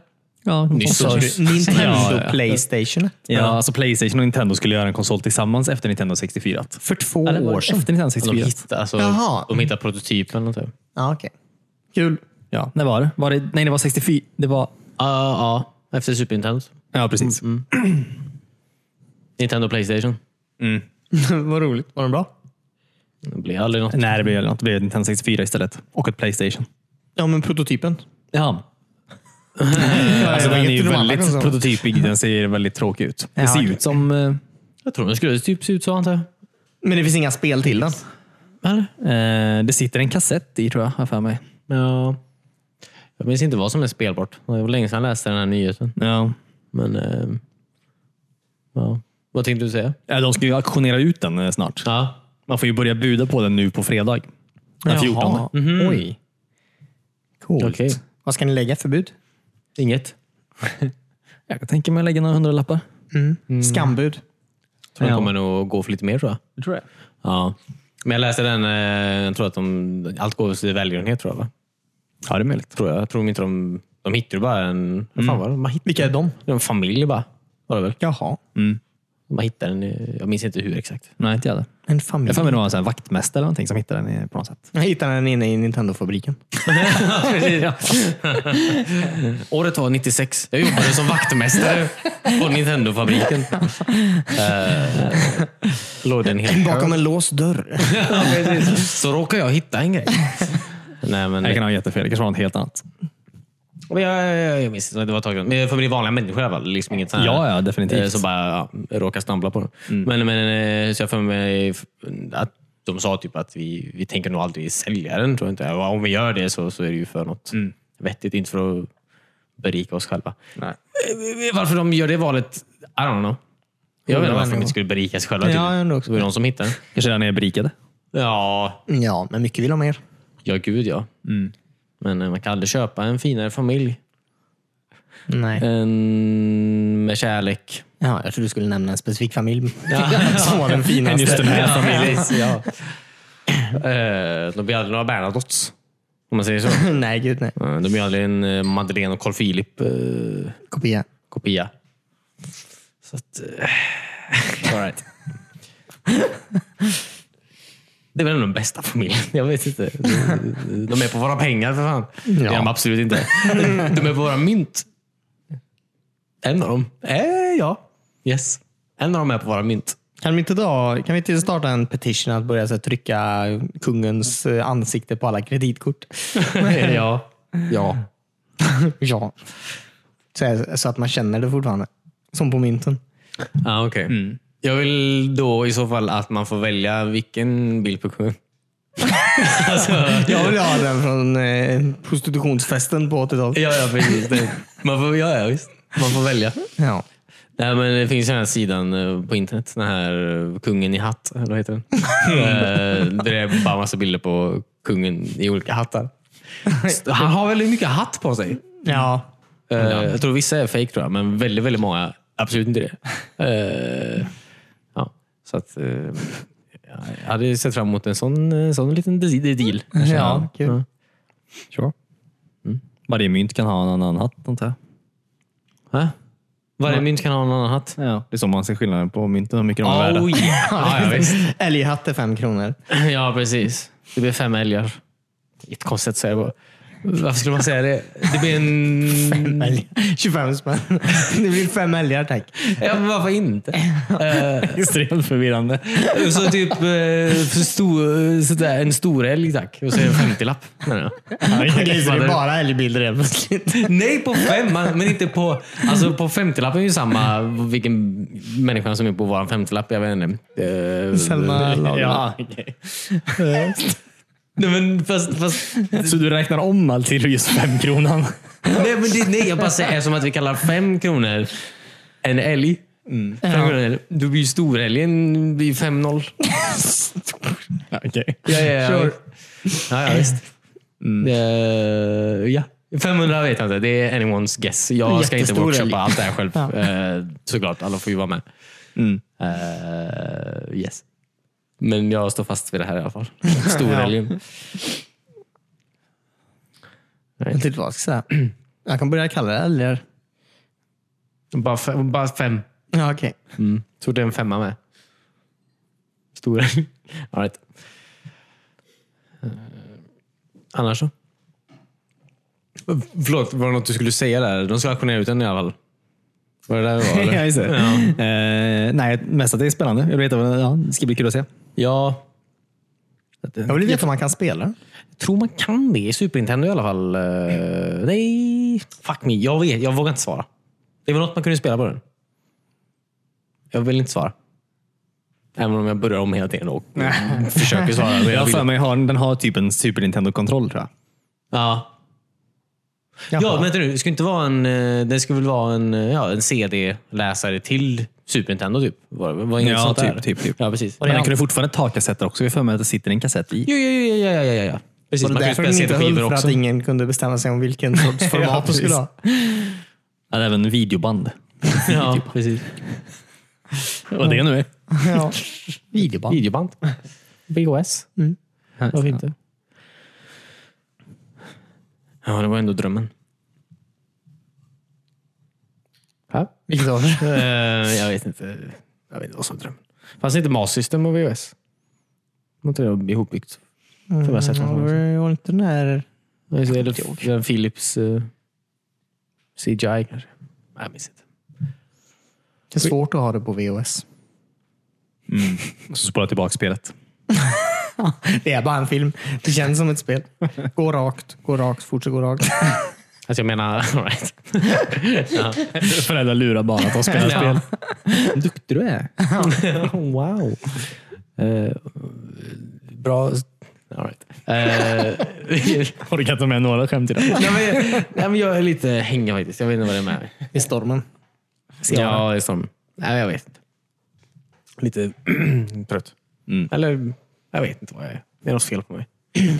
S3: ja,
S1: nyss.
S2: Sa du
S3: Ja,
S2: Nintendo
S3: ja.
S2: Playstation?
S3: Ja, alltså Playstation och Nintendo skulle göra en konsol tillsammans efter Nintendo 64.
S2: För två
S3: Eller var det
S2: år sedan?
S3: Efter Nintendo
S1: De
S3: 64.
S1: hittar, alltså,
S2: Jaha.
S1: de hittar prototypen. Typ.
S2: Ja, okej. Kul. <laughs>
S3: Ja, när var det? var det? Nej, det var 64. Det var...
S1: Ja, ja. efter Super Nintendo.
S3: Ja, precis.
S1: Nintendo Playstation.
S2: Vad roligt. Var den bra?
S1: Det blir aldrig något.
S3: Nej, det blev, det blev Nintendo 64 istället. Och ett Playstation.
S2: Ja, men prototypen.
S3: Ja.
S2: Alltså,
S3: Alltså, den är ju väldigt prototypig. Den ser <laughs> väldigt tråkig ut. Det
S2: Ja,
S3: ser
S2: okej.
S3: ut som... eh,
S1: Jag tror den skulle typ se ut så antar jag.
S2: Men det finns inga spel till den?
S1: Eller?
S3: Eh, det sitter en kassett i tror jag, har jag för mig.
S1: Ja. Jag minns inte vad som är spelbart. Det var länge sedan jag läste den här nyheten.
S3: Ja.
S1: Men, eh, ja. Vad tänkte du säga?
S3: Ja, De ska ju auktionera ut den eh, snart.
S1: Ja.
S3: Man får ju börja buda på den nu på fredag. Den 14.
S1: Mhm.
S2: Oj. Coolt.
S1: Okej.
S2: Vad ska ni lägga för bud?
S1: Inget.
S3: Jag kan tänka mig att lägga några hundralappar.
S2: Mm.
S3: Mm.
S2: Skambud.
S1: Tror den
S3: Ja.
S1: kommer nog gå för lite mer tror jag.
S3: Det tror jag.
S1: Ja. Men jag läste den, eh, jag tror att de, allt går till välgörenhet tror jag. Va?
S3: Ja, det är möjligt.
S1: Tror jag. jag tror inte de, de hittar ju bara en, vad fan var det? Man hittar,
S2: Vilka är de?
S1: en familj bara. Var det väl?
S2: Jaha.
S1: Man hittar den, i- eh, jag minns inte hur exakt.
S3: Nej, inte jag heller.
S2: En
S3: Jag
S2: familj.
S3: får mig det var en sån här vaktmästare eller någonting som hittade den i- på något sätt.
S2: Jag hittade den inne i Nintendo-fabriken.
S1: <laughs> Året var 96. Jag jobbade som vaktmästare på Nintendo-fabriken. Eh, låg den helt
S2: Bakom en låst dörr.
S1: <laughs>
S2: <laughs>
S1: Så råkar jag hitta en grej. Nej, men,
S3: Jag
S1: jag,
S3: kan ha jättefel. Det kanske var något helt annat.
S1: jag, jag minns inte, det var ett tag sedan. Men för mig är det vanliga människor i alla fall. Liksom inget sån här-
S3: Ja, ja,
S1: Eh,
S3: definitivt.
S1: Så bara ja, råkar snubbla på dem. Men, men, eh, så jag får mig f- att de sa typ att vi, vi tänker nog aldrig sälja den. Tror jag inte. Och om vi gör det så, så är det ju för något vettigt, inte för att berika oss själva.
S3: Nej.
S1: Eh, Varför de gör det valet, I don't know. Jag vet inte varför de inte skulle berika sig själva.
S2: Ja,
S1: typ.
S2: jag undrar också.
S1: Det var ju de som hittade den.
S3: Kanske den är berikade.
S1: Ja,
S2: Ja, men mycket vill ha mer.
S1: ja gud ja.
S3: Mm.
S1: Men eh, man kan aldrig köpa en finare familj.
S2: Nej.
S1: En med kärlek.
S2: Ja, jag tror du skulle nämna en specifik familj <laughs> som var den finaste.
S1: familjen. ja. Eh, De blir aldrig några Bernadottes. Om man säger så.
S2: <laughs> nej, gud nej.
S1: Eh, De blir aldrig en eh, Madeleine och Carl Philip eh,
S2: Kopia.
S1: kopia. Så att... eh, <laughs> All right. Det är väl den bästa familjen. Jag vet inte. De är på våra pengar för fan. Det är
S2: Ja.
S1: de absolut inte. De är på våra mynt. En av dem. Eh, ja. Yes. En av dem är på våra mynt.
S2: Kan vi inte, dra, kan vi inte starta en petition att börja så här, trycka kungens eh, ansikte på alla <laughs> kreditkort?
S1: ja. Ja.
S2: ja. Så, här, så att man känner det fortfarande. Som på mynten.
S1: Ah, okay. Jag vill då i så fall att man får välja vilken bild på kungen.
S2: Jag vill ha den från eh, prostitutionsfesten på 80-talet.
S1: Ja, ja precis. Det. Man får, ja, ja, visst. Man får välja.
S2: Ja.
S1: Nej, men det finns ju den här sidan eh, på internet, den här eh, kungen i hatt. Eller vad heter den? Eh, Där det är bara massa bilder på kungen i olika hattar. <laughs> Han har väldigt mycket hatt på sig.
S2: ja.
S1: Eh, Jag tror vissa är fake tror jag, men väldigt, väldigt många absolut inte
S2: <laughs>
S1: det. Eh, ja, så att, eh, jag hade sett fram emot en sån, en sån liten de- deal.
S2: Ja, kul.
S1: Ja.
S3: Sure. Mm. Varje mynt kan ha en annan hatt, antar jag.
S1: Va? Varje mynt kan ha en annan hatt.
S3: Ja. Det är så man ser skillnaden på mynten, hur mycket de är värda.
S1: Oh, yeah. <laughs> ja, ja, visst.
S2: Älghatt är fem kronor.
S1: ja, precis. Det blir fem älgar. Ett konstigt säger jag bara. Varför skulle man säga det? Det blir
S2: <laughs>
S1: en...
S2: Älg. 25 spänn. <laughs> Det blir fem älgar tack.
S1: Ja, men varför inte? Eh,
S3: Extremt förvirrande.
S1: Så typ eh, för stor, sådär, en stor älg tack. Och så är det en 50-lapp. menar jag.
S2: Okej, så det
S1: Fattar
S2: är
S1: du?
S2: bara älgbilder helt <laughs> plötsligt.
S1: Nej, på femman, men inte på... Alltså på 50-lappen är ju samma vilken människa som är på vår 50-lapp. Jag vet inte. Eh,
S2: Selma Lagerlöf.
S3: <laughs> Ja, okej.
S1: Nej, men fast... fast
S3: Så du räknar om allt till just femkronan?
S1: nej, men det, nej, jag bara säger som att vi kallar fem kronor en älg. Fem
S2: Mm. Ja.
S1: kronor, en älg. Då blir ju storälgen blir 5-0.
S3: <laughs> Ja, okej.
S1: Ja, ja, ja.
S2: Sure.
S1: ja, ja visst. Eh, ja. 500 vet jag inte. Det är anyone's guess. Jag ska inte
S2: Jättestor älg.
S1: workshoppa allt det här själv.
S2: Ja.
S1: Eh, såklart, alla får ju vara med.
S3: Mm.
S1: Eh, yes. Men jag står fast vid det här i alla fall.
S2: <laughs>
S1: Storälgen.
S2: Jag vet inte vad jag ska säga. Jag kan börja kalla det älgar.
S1: bara, fem, bara fem.
S2: Ja, okej.
S1: Mm. Tror det är en femma med. Storälg. <laughs> All right. Eh, annars så? Förlåt, var det något du skulle säga där? De ska auktionera ut den i alla fall. Var det där det var?
S3: <laughs> Ja,
S1: eller?
S3: just det. Eh, nej, mest att det är spännande. Jag vet, att- ja, det ska bli kul att se.
S1: <laughs> ja,
S2: Jag vill veta om man kan spela.
S1: tror man kan det i Super Nintendo i alla fall. Eh, nej, fuck me. Jag, vet, jag vågar inte svara. Det var något man kunde spela på den. Jag vill inte svara. Även om jag börjar om hela tiden och försöker svara. Men <laughs>
S3: Jag
S1: jag
S3: har
S1: vill
S3: för mig har, den har typ en Super Nintendo-kontroll tror jag.
S1: Ja. Ja,
S2: Jaha.
S1: men vänta nu. Det ska inte vara en, eh, det ska väl vara en, eh, ja, en CD-läsare till Super Nintendo typ? Var, var inget
S3: Ja,
S1: sånt
S3: typ,
S1: där?
S3: typ, typ.
S1: Ja, precis.
S3: Men den
S1: Ja.
S3: kunde fortfarande ta kassetter också. Jag har för mig att det sitter en kassett i.
S1: Jo, jo, jo, ja, ja, ja, ja, ja. Precis,
S2: Var det
S1: man kan ju
S2: därför
S1: spela
S2: den inte höll
S1: CD-skivor
S2: för
S1: också.
S2: att ingen kunde bestämma sig om vilken sorts format du skulle ha?
S3: Ja, det är även videoband.
S1: <laughs> Ja, precis.
S3: Vad det nu är.
S2: Ja. Mm. Videoband.
S1: Videoband. VHS. Varför inte? Ja, det var ändå drömmen.
S2: <laughs> Vilket år?
S1: Eh, jag vet inte. Jag vet inte vad som är drömmen. Fanns det inte MAS-system och VHS? Var inte det ihopbyggt? För vad jag sett
S2: Ja,
S1: någonstans.
S2: Var var inte den här...
S1: Nej, så är Mm. det den Philips eh, CGI kanske? Nej, jag minns inte.
S2: Det är svårt att ha det på VHS.
S3: Och så spola tillbaka spelet.
S2: <laughs> Det är bara en film. Det känns som ett spel. Gå rakt, gå rakt, fortsätt gå rakt.
S1: Alltså jag menar, <laughs> all right.
S3: <laughs> Föräldrar lurar barn att de spelar spel.
S1: Duktig du är. wow. Eh, bra. All right. Eh, <laughs>
S3: Har du inte med några skämt idag?
S1: nej, men, nej, men jag är lite hängig faktiskt. Jag vet inte vad det är med mig.
S2: I stormen.
S1: Ja, det är som, nej, jag vet inte. Lite <clears throat> trött.
S3: Mm.
S1: Eller, jag vet inte vad jag är. Det är något fel på mig.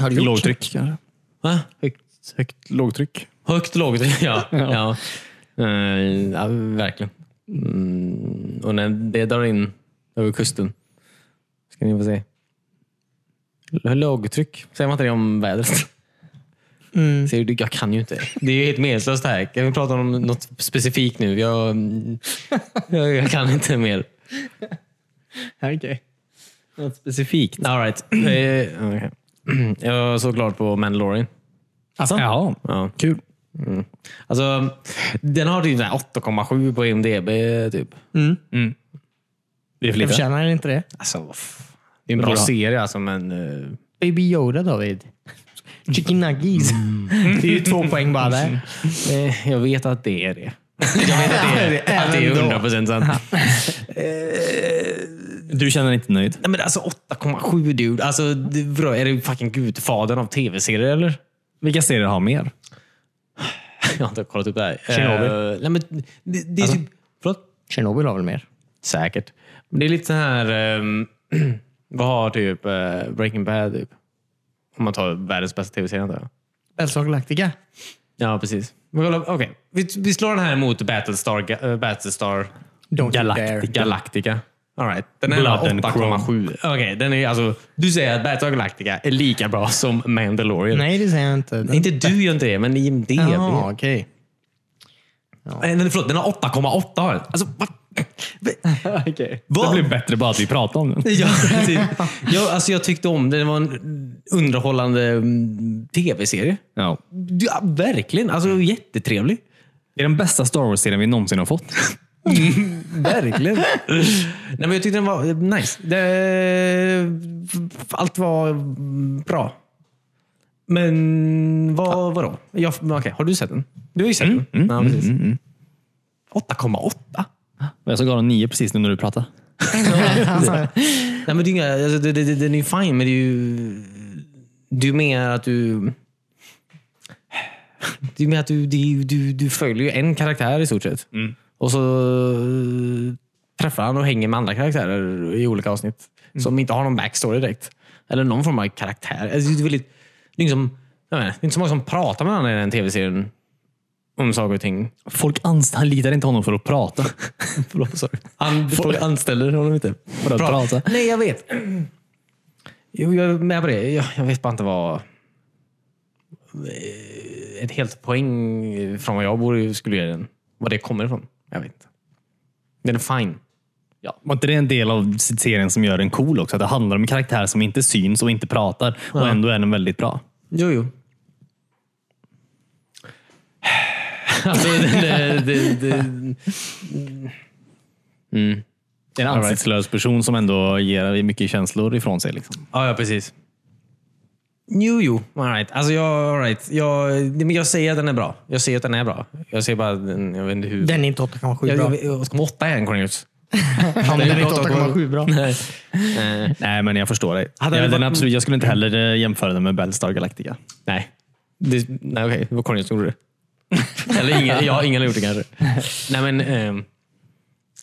S2: Har du gjort?
S3: Lågtryck kanske?
S1: Va?
S3: Högt, högt lågtryck?
S1: Högt, lågt. Ja. <laughs> ja. Eh, ja verkligen. Mm, och när det drar in över kusten, ska ni få se. L- Lågtryck, säger man inte det om vädret?
S2: Mm.
S1: Ser du, jag kan ju inte. Det är ju helt meningslöst det här. Kan vi prata om något specifikt nu? Jag, <laughs> mm, jag, jag kan inte mer.
S2: Okej.
S1: Något specifikt? All right. Eh, okej. <clears throat> Jag såg klart på Mandalorian.
S3: Alltså? Jaha,
S1: Ja.
S3: kul.
S1: Mm. Alltså, den har typ så här 8,7 på IMDB. Typ.
S2: Mm.
S3: Det är för
S2: Jag
S3: lite.
S2: förtjänar inte det.
S1: Alltså, vad f- det är en bra
S3: Bra.
S1: serie alltså, men... eh,
S2: Baby Yoda David. Chicken nuggies. <laughs> Det är ju två poäng bara där.
S1: eh, jag vet att det är det. <laughs> Jag vet att det är, <laughs> att det är
S2: Även då.
S1: 100 procent sant.
S3: Du känner dig inte nöjd?
S1: Nej, men alltså 8,7 dude. Alltså, det, bra, är det fucking gudfadern av tv-serier eller? <laughs>
S3: Vilka serier har mer?
S1: Jag har inte kollat upp det här.
S2: Chernobyl.
S1: Eh, nej, men det, det är typ... Förlåt?
S2: Tjernobyl har väl mer?
S1: Säkert. Men det är lite så här... ehm, <clears throat> vad har typ eh, Breaking Bad? Typ? Om man tar världens bästa tv-serie antar jag.
S2: Battlestar Galactica.
S1: Ja, precis. Men kolla, okej. vi, vi slår den här mot Battlestar, Ga- eh, Battlestar
S2: Don't you
S3: Galactica.
S2: dare.
S1: Galactica. All right. Den är
S3: Blood
S1: bara
S3: and
S1: 8,7. Okej, den är alltså... Du säger att Battlestar Galactica är lika bra som Mandalorian.
S2: Nej, det säger jag inte.
S1: Inte du gör inte det, men IMD.
S2: Jaha, okej.
S1: Nej, nej, förlåt, den har 8,8. har den. Alltså,
S3: <laughs>
S1: vad?
S3: Det blir bättre bara att vi pratar om den.
S1: <laughs> Ja, precis. jag, alltså, jag tyckte om det. Det var en underhållande mm, tv-serie.
S3: Ja.
S1: Ja, verkligen. Alltså, jättetrevlig.
S3: Det är den bästa Star Wars-serien vi någonsin har fått.
S1: Verkligen. <laughs> Nej, men jag tyckte den var eh, nice. Det, allt var mm, bra. Men vad, vadå? Jag, men okej, har du sett den? Du har ju sett den. ja, precis. 8,8?
S3: Jag såg den nio precis nu när du pratade.
S1: Nej, men det är inga, alltså, det, det, det, den är ju fine, men det är ju... Det är ju mer att du... Det är ju mer att du, du, du, du följer ju en karaktär i stort sett. Och så eh, träffar han och hänger med andra karaktärer i olika avsnitt. Som inte har någon backstory direkt. Eller någon form av karaktär. Alltså, det är väldigt... Det är, liksom, jag menar, det är inte så många som pratar med varandra i den tv-serien. Om saker och ting.
S3: Folk anlitar inte honom för
S1: <laughs>
S3: att prata.
S1: Förlåt, sorry. Han folk anställer honom inte.
S3: För att
S1: Bra.
S3: prata.
S1: Nej, jag vet. <clears throat> Jo, jag är med på det. Jag, jag vet bara inte vad... eh, Ett helt poäng från vad jag borde skulle ge den. Var det kommer ifrån. Jag vet inte. Den är fine.
S3: Ja. Var inte det en del av serien som gör den cool också? Att det handlar om en karaktär som inte syns och inte pratar och ändå är den väldigt bra.
S1: Jo, jo. <sighs> Alltså, det... det, det mm.
S3: Det är en ansiktslös person som ändå ger mycket känslor ifrån sig. Liksom.
S1: Ja, ja precis. Jo, jo. All right. Alltså, jag, all right. jag, nej, men jag säger att den är bra. Jag säger att den är bra. Jag säger bara att den, jag vet inte hur.
S2: Den är inte 8,7
S1: jag,
S2: bra.
S1: jag, jag, 8,8 är den Cornelius.
S2: Ja, men den är inte 8,7 bra.
S1: Nej.
S3: Nej, men jag förstår dig.
S1: Mm. Hade
S3: ja,
S1: det
S3: den
S1: varit- Mm.
S3: absolut, jag skulle inte heller eh, jämföra den med Battlestar Galactica.
S1: Nej. Det, nej, okej. Det var Conny som gjorde det. Eller ingen, jag har ingen har gjort det kanske. Nej, men... ehm,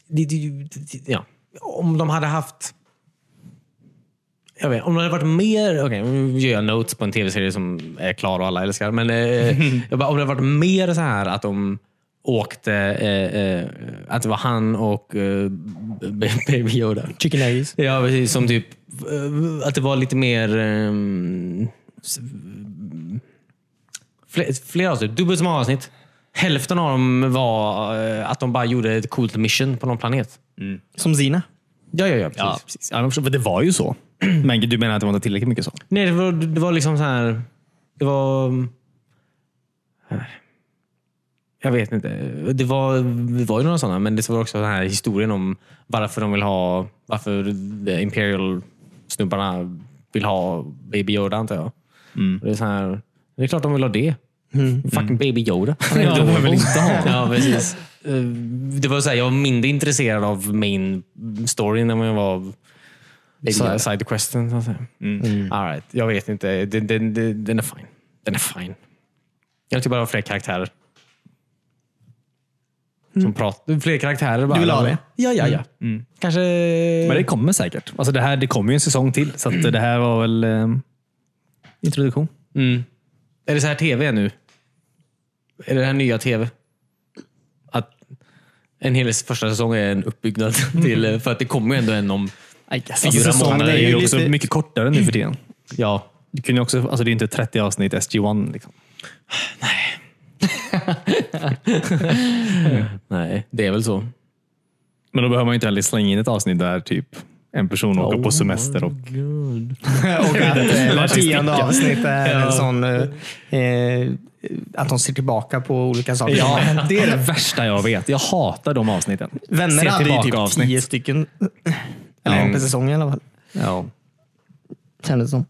S1: det, det, det, det- ja. Om de hade haft... Jag vet, om det hade varit mer... Okej, nu gör jag notes på en tv-serie som är klar och alla älskar. Men <laughs> eh, jag bara, om det hade varit mer så här att de åkte... Eh, eh, att det var han och eh, B- Baby Yoda.
S2: <laughs> Chicken Nuggets.
S1: Ja, precis. Som typ eh, att det var lite mer... ehm, s- fler, fler avsnitt. Dubbelt så många avsnitt. Hälften av dem var eh, att de bara gjorde ett coolt mission på någon planet.
S2: Som <laughs> Zina.
S1: Ja, ja, ja. Precis.
S3: Ja, precis. Ja, men för- för det var ju så. <clears throat> Men du menar att det var inte tillräckligt mycket så?
S1: Nej, det var, det var liksom så här... Det var... ehm, eh, Jag vet inte. Det var, det var ju några sådana, men det var också den här historien om varför de vill ha... Varför the Imperial-snubbarna vill ha Baby Yoda, antar jag.
S3: Mm.
S1: Det, är så här, det är klart de vill ha det. Fucking Baby Yoda.
S3: Ja, de vill inte ha.
S1: <laughs> ja, precis. Eh, Det var så här, jag var mindre intresserad av main storyn än vad jag var av si- sidequesten. Så att säga.
S3: Mm.
S1: All right, jag vet inte. Den, den, den, den är fine. Den är fine. Jag tycker bara det var fler karaktärer. Som pratar. Fler karaktärer bara.
S2: Du vill ha det? Mm.
S1: Ja, ja, ja. Kanske...
S3: Men det kommer säkert. Alltså det, här, det kommer ju en säsong till, så att det här var väl eh, introduktion.
S1: Mm. Är det så här tv är nu? Är det här nya tv? Att en hel första säsong är en uppbyggnad <laughs>
S2: <laughs>
S1: till, för att det kommer ju ändå en om...
S3: Alltså,
S1: Fyra
S3: säsongerna
S1: månader
S3: är
S1: är
S3: ju
S1: ju
S3: också
S2: lite-
S3: mycket kortare nu för tiden.
S1: Ja.
S3: Du kunde ju också, alltså det är inte 30 avsnitt SG1. Liksom.
S1: Nej, det är väl så.
S3: Men då behöver man ju inte heller slänga in ett avsnitt där typ en person åker
S2: Oh.
S3: på semester och
S2: och att eh, var tionde
S3: Artistika.
S2: avsnitt är en sån... Eh, eh, att de ser tillbaka på olika saker.
S3: Ja, <laughs> det är det värsta jag vet. Jag hatar de avsnitten.
S2: Vänner
S3: Se
S2: hade ju typ
S3: tillbaka-avsnitt.
S2: tio stycken. Eller en per säsong i alla fall.
S3: Ja.
S2: Kändes som.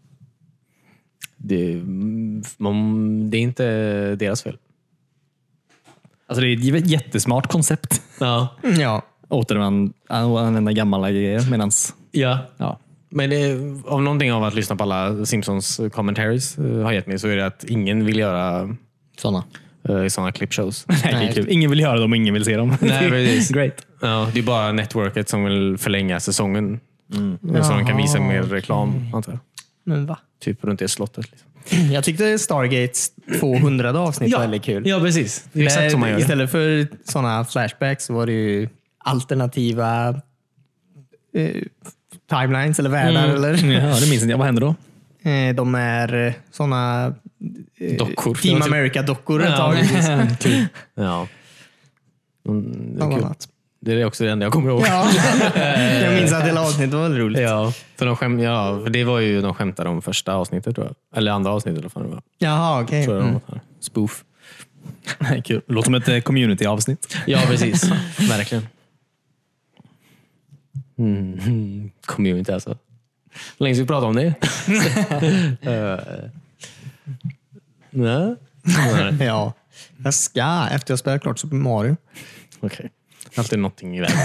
S1: Det, man, det är inte deras fel.
S3: Alltså det är ett jättesmart koncept.
S1: Ja.
S2: Ja.
S3: Återanvända använda gamla grejer medans...
S1: ja.
S3: Ja.
S1: Men det, av någonting av att lyssna på alla Simpsons commentaries eh, har gett mig så är det att ingen vill göra
S2: Sådana.
S1: sådana <laughs> clipshows.
S3: Nej, det är kul. Ingen vill göra dem och ingen vill se dem.
S1: Nej, precis.
S3: Great.
S1: Ja, det är bara networket som vill förlänga säsongen.
S2: Mm.
S1: Så de kan visa mer reklam, antar jag.
S2: Men va?
S1: Typ runt det slottet. Liksom.
S2: Jag tyckte Stargates 200 avsnitt var väldigt kul.
S1: Ja, precis. Det är exakt som man gör.
S2: Istället för sådana flashbacks så var det ju alternativa eh, timelines eller världar.
S1: Mm.
S2: Eller,
S3: <laughs> Ja, det minns inte jag. Vad händer då?
S2: eh, de är sådana
S1: Dockor. typ.
S2: Team America-dockor
S1: <laughs>
S2: ett tag.
S1: Kul. ja. Mm, det, är
S2: Bland
S1: kul.
S2: annat.
S1: det är också det enda jag kommer ihåg.
S2: Ja. jag minns att hela avsnittet var väldigt
S1: <laughs>
S2: roligt.
S1: Ja, för de skäm, ja, för det var ju de skämtade om första avsnittet, tror jag. eller andra avsnittet. Eller vad fan det var.
S2: Jaha, okej.
S1: Tror jag de
S2: Mm.
S1: var här. Spoof.
S3: Nej, kul. Låter som ett eh, community-avsnitt.
S1: Ja, precis. Verkligen. Mm. Community alltså. Länge sedan vi pratade om det. <laughs> Eh, Nej. Nej.
S2: Ja. Jag ska, efter jag spelat klart Super Mario.
S1: Okej. Alltid någonting i vägen.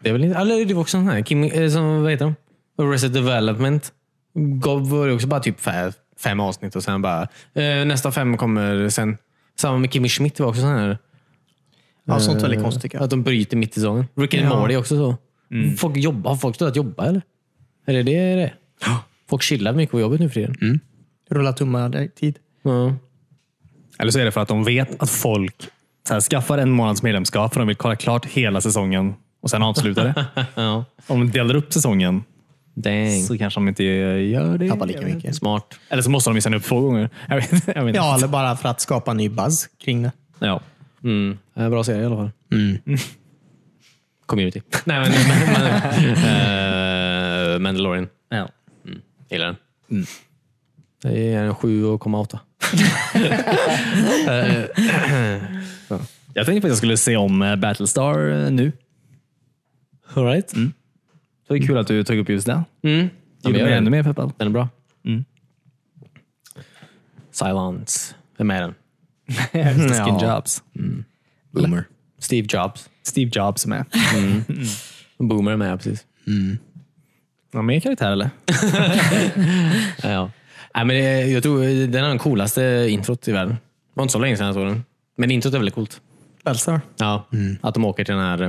S1: det är väl inte... Eller det var också en sån här... Kim, eh, som, vad heter de? Reset Development. Gav var det också bara typ fem, fem avsnitt och sen bara... Eh, nästa fem kommer sen. Samma med Kimmy Schmidt var också sån här...
S2: Ja, sånt väldigt
S1: eh,
S2: konstigt tycker jag.
S1: Att de bryter mitt i säsongen. Rick and
S2: Ja.
S1: Morty är också så. Folk jobbar, har folk slutat jobba eller? Eller är det det? Folk chillar mycket på jobbet nu för tiden.
S2: Rulla tummar direkt.
S1: Ja.
S3: Eller så är det för att de vet att folk så här, skaffar en månads medlemskap för de vill kolla klart hela säsongen och sen avsluta <laughs> det.
S1: <laughs> ja.
S3: Om de delar upp säsongen
S1: Dang.
S3: så kanske de inte gör det.
S2: Tappar lika mycket.
S1: Smart.
S3: Eller så måste de visa upp två gånger. <laughs> Jag vet, jag vet inte.
S2: Ja, eller bara för att skapa ny buzz kring det.
S3: ja.
S1: Mm. Eh, Bra serie i alla fall. <laughs> Community. Mm. <laughs> Nej, men, men, men, eh, Mandalorian.
S3: Ja.
S1: Gillar den. Mm. Det är en 7,8.
S3: Jag tänkte faktiskt att jag skulle se om eh, Battlestar eh, nu.
S1: All right.
S3: Så det är kul att du tog upp just det.
S1: Mm.
S3: Det gjorde mig ännu mer peppad.
S1: Den är Mm. bra. Silence. Vem är den?
S3: Skin
S2: Ja.
S3: Jobs. Boomer.
S1: Steve Jobs.
S3: Steve Jobs är med. <laughs>
S1: Boomer är med, precis.
S3: Någon mer karaktär eller?
S1: Ja. Nej, men det, jag tror den har den coolaste introt i världen. Det var inte så länge sedan jag såg den. Men introt är väldigt coolt.
S2: Bellstar.
S1: Ja, Att de åker till den här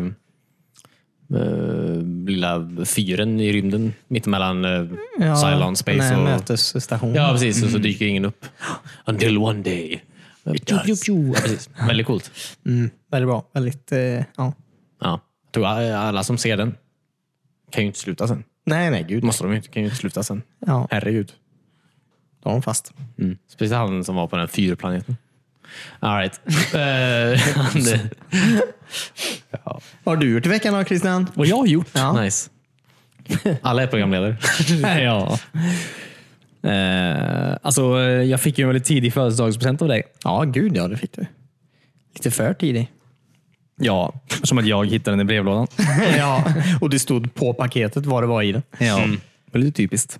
S1: eh, lilla fyren i rymden mittemellan uh, Cylon Space
S2: Nej,
S1: och...
S2: mötesstationen.
S1: Ja, precis. Och så dyker ingen upp. Until one day. Pju, pju, pju. Ja, precis. Väldigt coolt.
S2: Mm, väldigt bra. Väldigt, eh, ja.
S1: Ja. Jag tror alla som ser den kan ju inte sluta sen.
S2: Nej, nej,
S1: Gud. Måste de ju inte, kan ju inte sluta sen.
S2: Ja,
S1: Herregud.
S2: då har de fast.
S1: Mm. Speciellt han som var på den här fyrplaneten. All <laughs> right. Eh, han,
S2: Vad har du gjort i veckan då, Christian?
S3: Vad jag har gjort?
S2: Ja.
S1: Nice. Alla är programledare.
S3: ja. Eh, alltså, eh, jag fick ju en väldigt tidig födelsedagspresent av dig.
S2: Ja, gud ja, det fick du. Lite för tidig.
S3: Ja, som att jag hittade den i brevlådan.
S2: <laughs> ja, och det stod på paketet vad det var i den.
S3: Ja, det är lite typiskt.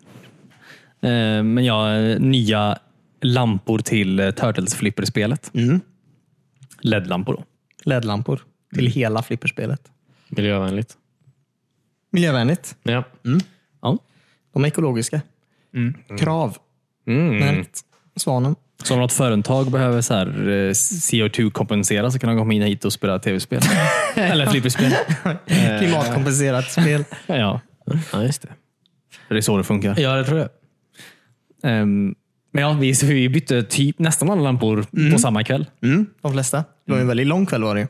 S3: Mm. Eh, Men jag eh, nya lampor till eh, Turtles flipperspelet.
S2: Mm.
S3: LED-lampor då.
S2: LED-lampor till hela flipperspelet.
S1: Miljövänligt.
S2: Miljövänligt.
S1: Ja.
S3: Ja.
S2: De är ekologiska. Krav.
S1: Mm.
S2: Märkt. Svanen.
S3: Så om något företag behöver så här eh, CO2-kompensera så kan de komma in hit och spela <laughs> tv-spel. Eller flipperspel. Eh.
S2: Klimatkompenserat spel.
S3: Ja,
S1: ja, just det.
S3: det är så det funkar.
S1: Ja, det tror jag.
S3: Ehm, Men ja, vi, vi bytte typ nästan alla lampor på samma kväll.
S2: Mm, de flesta. Det var en väldigt lång kväll var det ju.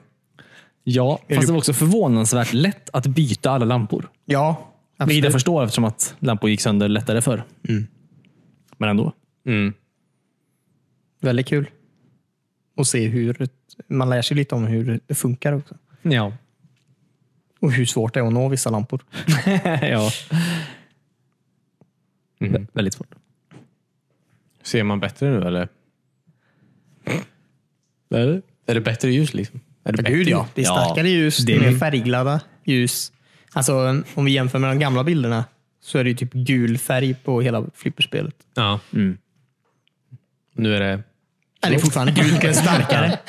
S3: Ja,
S2: du-
S3: fast det var också förvånansvärt lätt att byta alla lampor.
S2: Ja,
S3: Vilket jag
S2: absolut.
S3: förstår eftersom att lampor gick sönder lättare förr. Men ändå.
S1: Mm.
S2: Väldigt kul. Och se hur man lär sig lite om hur det funkar också.
S3: Ja.
S2: Och hur svårt det är att nå vissa lampor.
S3: ja. Mm-hmm. Vä- Väldigt svårt.
S1: Ser man bättre nu eller? eller? Är det bättre ljus? Liksom? Är det bättre?
S2: Det är starkare ljus, det
S3: det
S2: är
S3: är
S2: mer
S3: min-
S2: färgglada ljus. Alltså, om vi jämför med de gamla bilderna så är det ju typ gul färg på hela flipperspelet.
S1: Ja.
S3: Mm.
S1: Nu är det...
S2: Nej, det är fortfarande gult, men
S3: <laughs>
S2: starkare.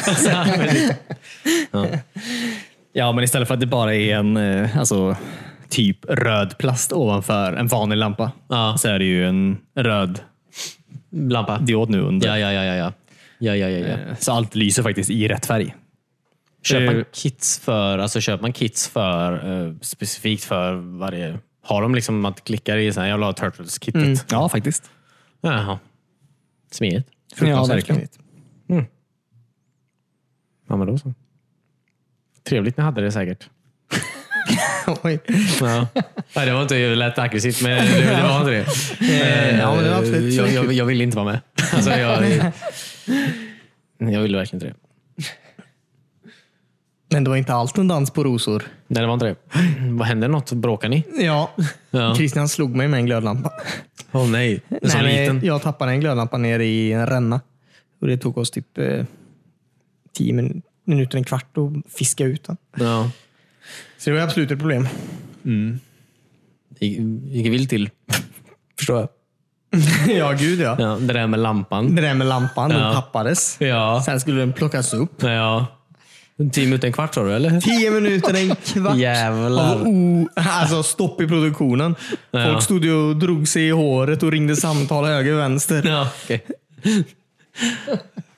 S3: Ja, men istället för att det bara är en eh, alltså, typ röd plast ovanför en vanlig lampa
S1: Ja.
S3: så är det ju en röd
S1: Lampa.
S3: diod nu under.
S1: Ja, ja, ja. ja, ja. ja, ja, ja, ja.
S3: Eh, Så allt lyser faktiskt i rätt färg.
S1: Köper man
S3: Eh,
S1: kits för, alltså köper man kits för eh, specifikt för varje... Har de liksom att klickar i så här, jag vill ha Turtles-kittet?
S2: Mm.
S3: Ja, faktiskt.
S1: Jaha. Smidigt.
S3: Ja, verkligen.
S1: Ja, men då så. Trevligt ni hade det säkert.
S2: Oj.
S1: <laughs> Ja. Nej, det var inte, det lät aggressivt, men det, det var inte det. <laughs> Eh,
S2: ja, men det var absolut
S1: jag, jag,
S2: kul.
S1: jag ville inte vara med. <laughs> Alltså, jag, jag ville verkligen inte det.
S2: Men det var inte allt en dans på rosor.
S1: Nej, det var inte det. Vad hände något? Bråkade ni?
S2: Ja.
S1: Ja.
S2: Christian slog mig med en glödlampa.
S1: Åh oh, nej. En sån
S2: Nej,
S1: liten.
S2: men jag tappade en glödlampa ner i en ränna. Och det tog oss typ eh, tio min- minuter, en kvart att fiska ut den.
S1: Ja.
S2: Så det var absolut ett problem.
S1: Gick gick vilt till. Förstår jag.
S2: <laughs> ja, gud ja.
S1: Ja, det där med lampan.
S2: Det där med lampan, den
S1: Ja.
S2: tappades.
S1: Ja.
S2: Sen skulle den plockas upp.
S1: ja. En timme ut en kvart sa du, eller?
S2: Tio minuter, <laughs> en kvart
S1: Jävlar.
S2: av o- alltså stopp i produktionen.
S1: Ja.
S2: Folk stod ju och drog sig i håret och ringde samtal höger och vänster.
S1: Ja, okej.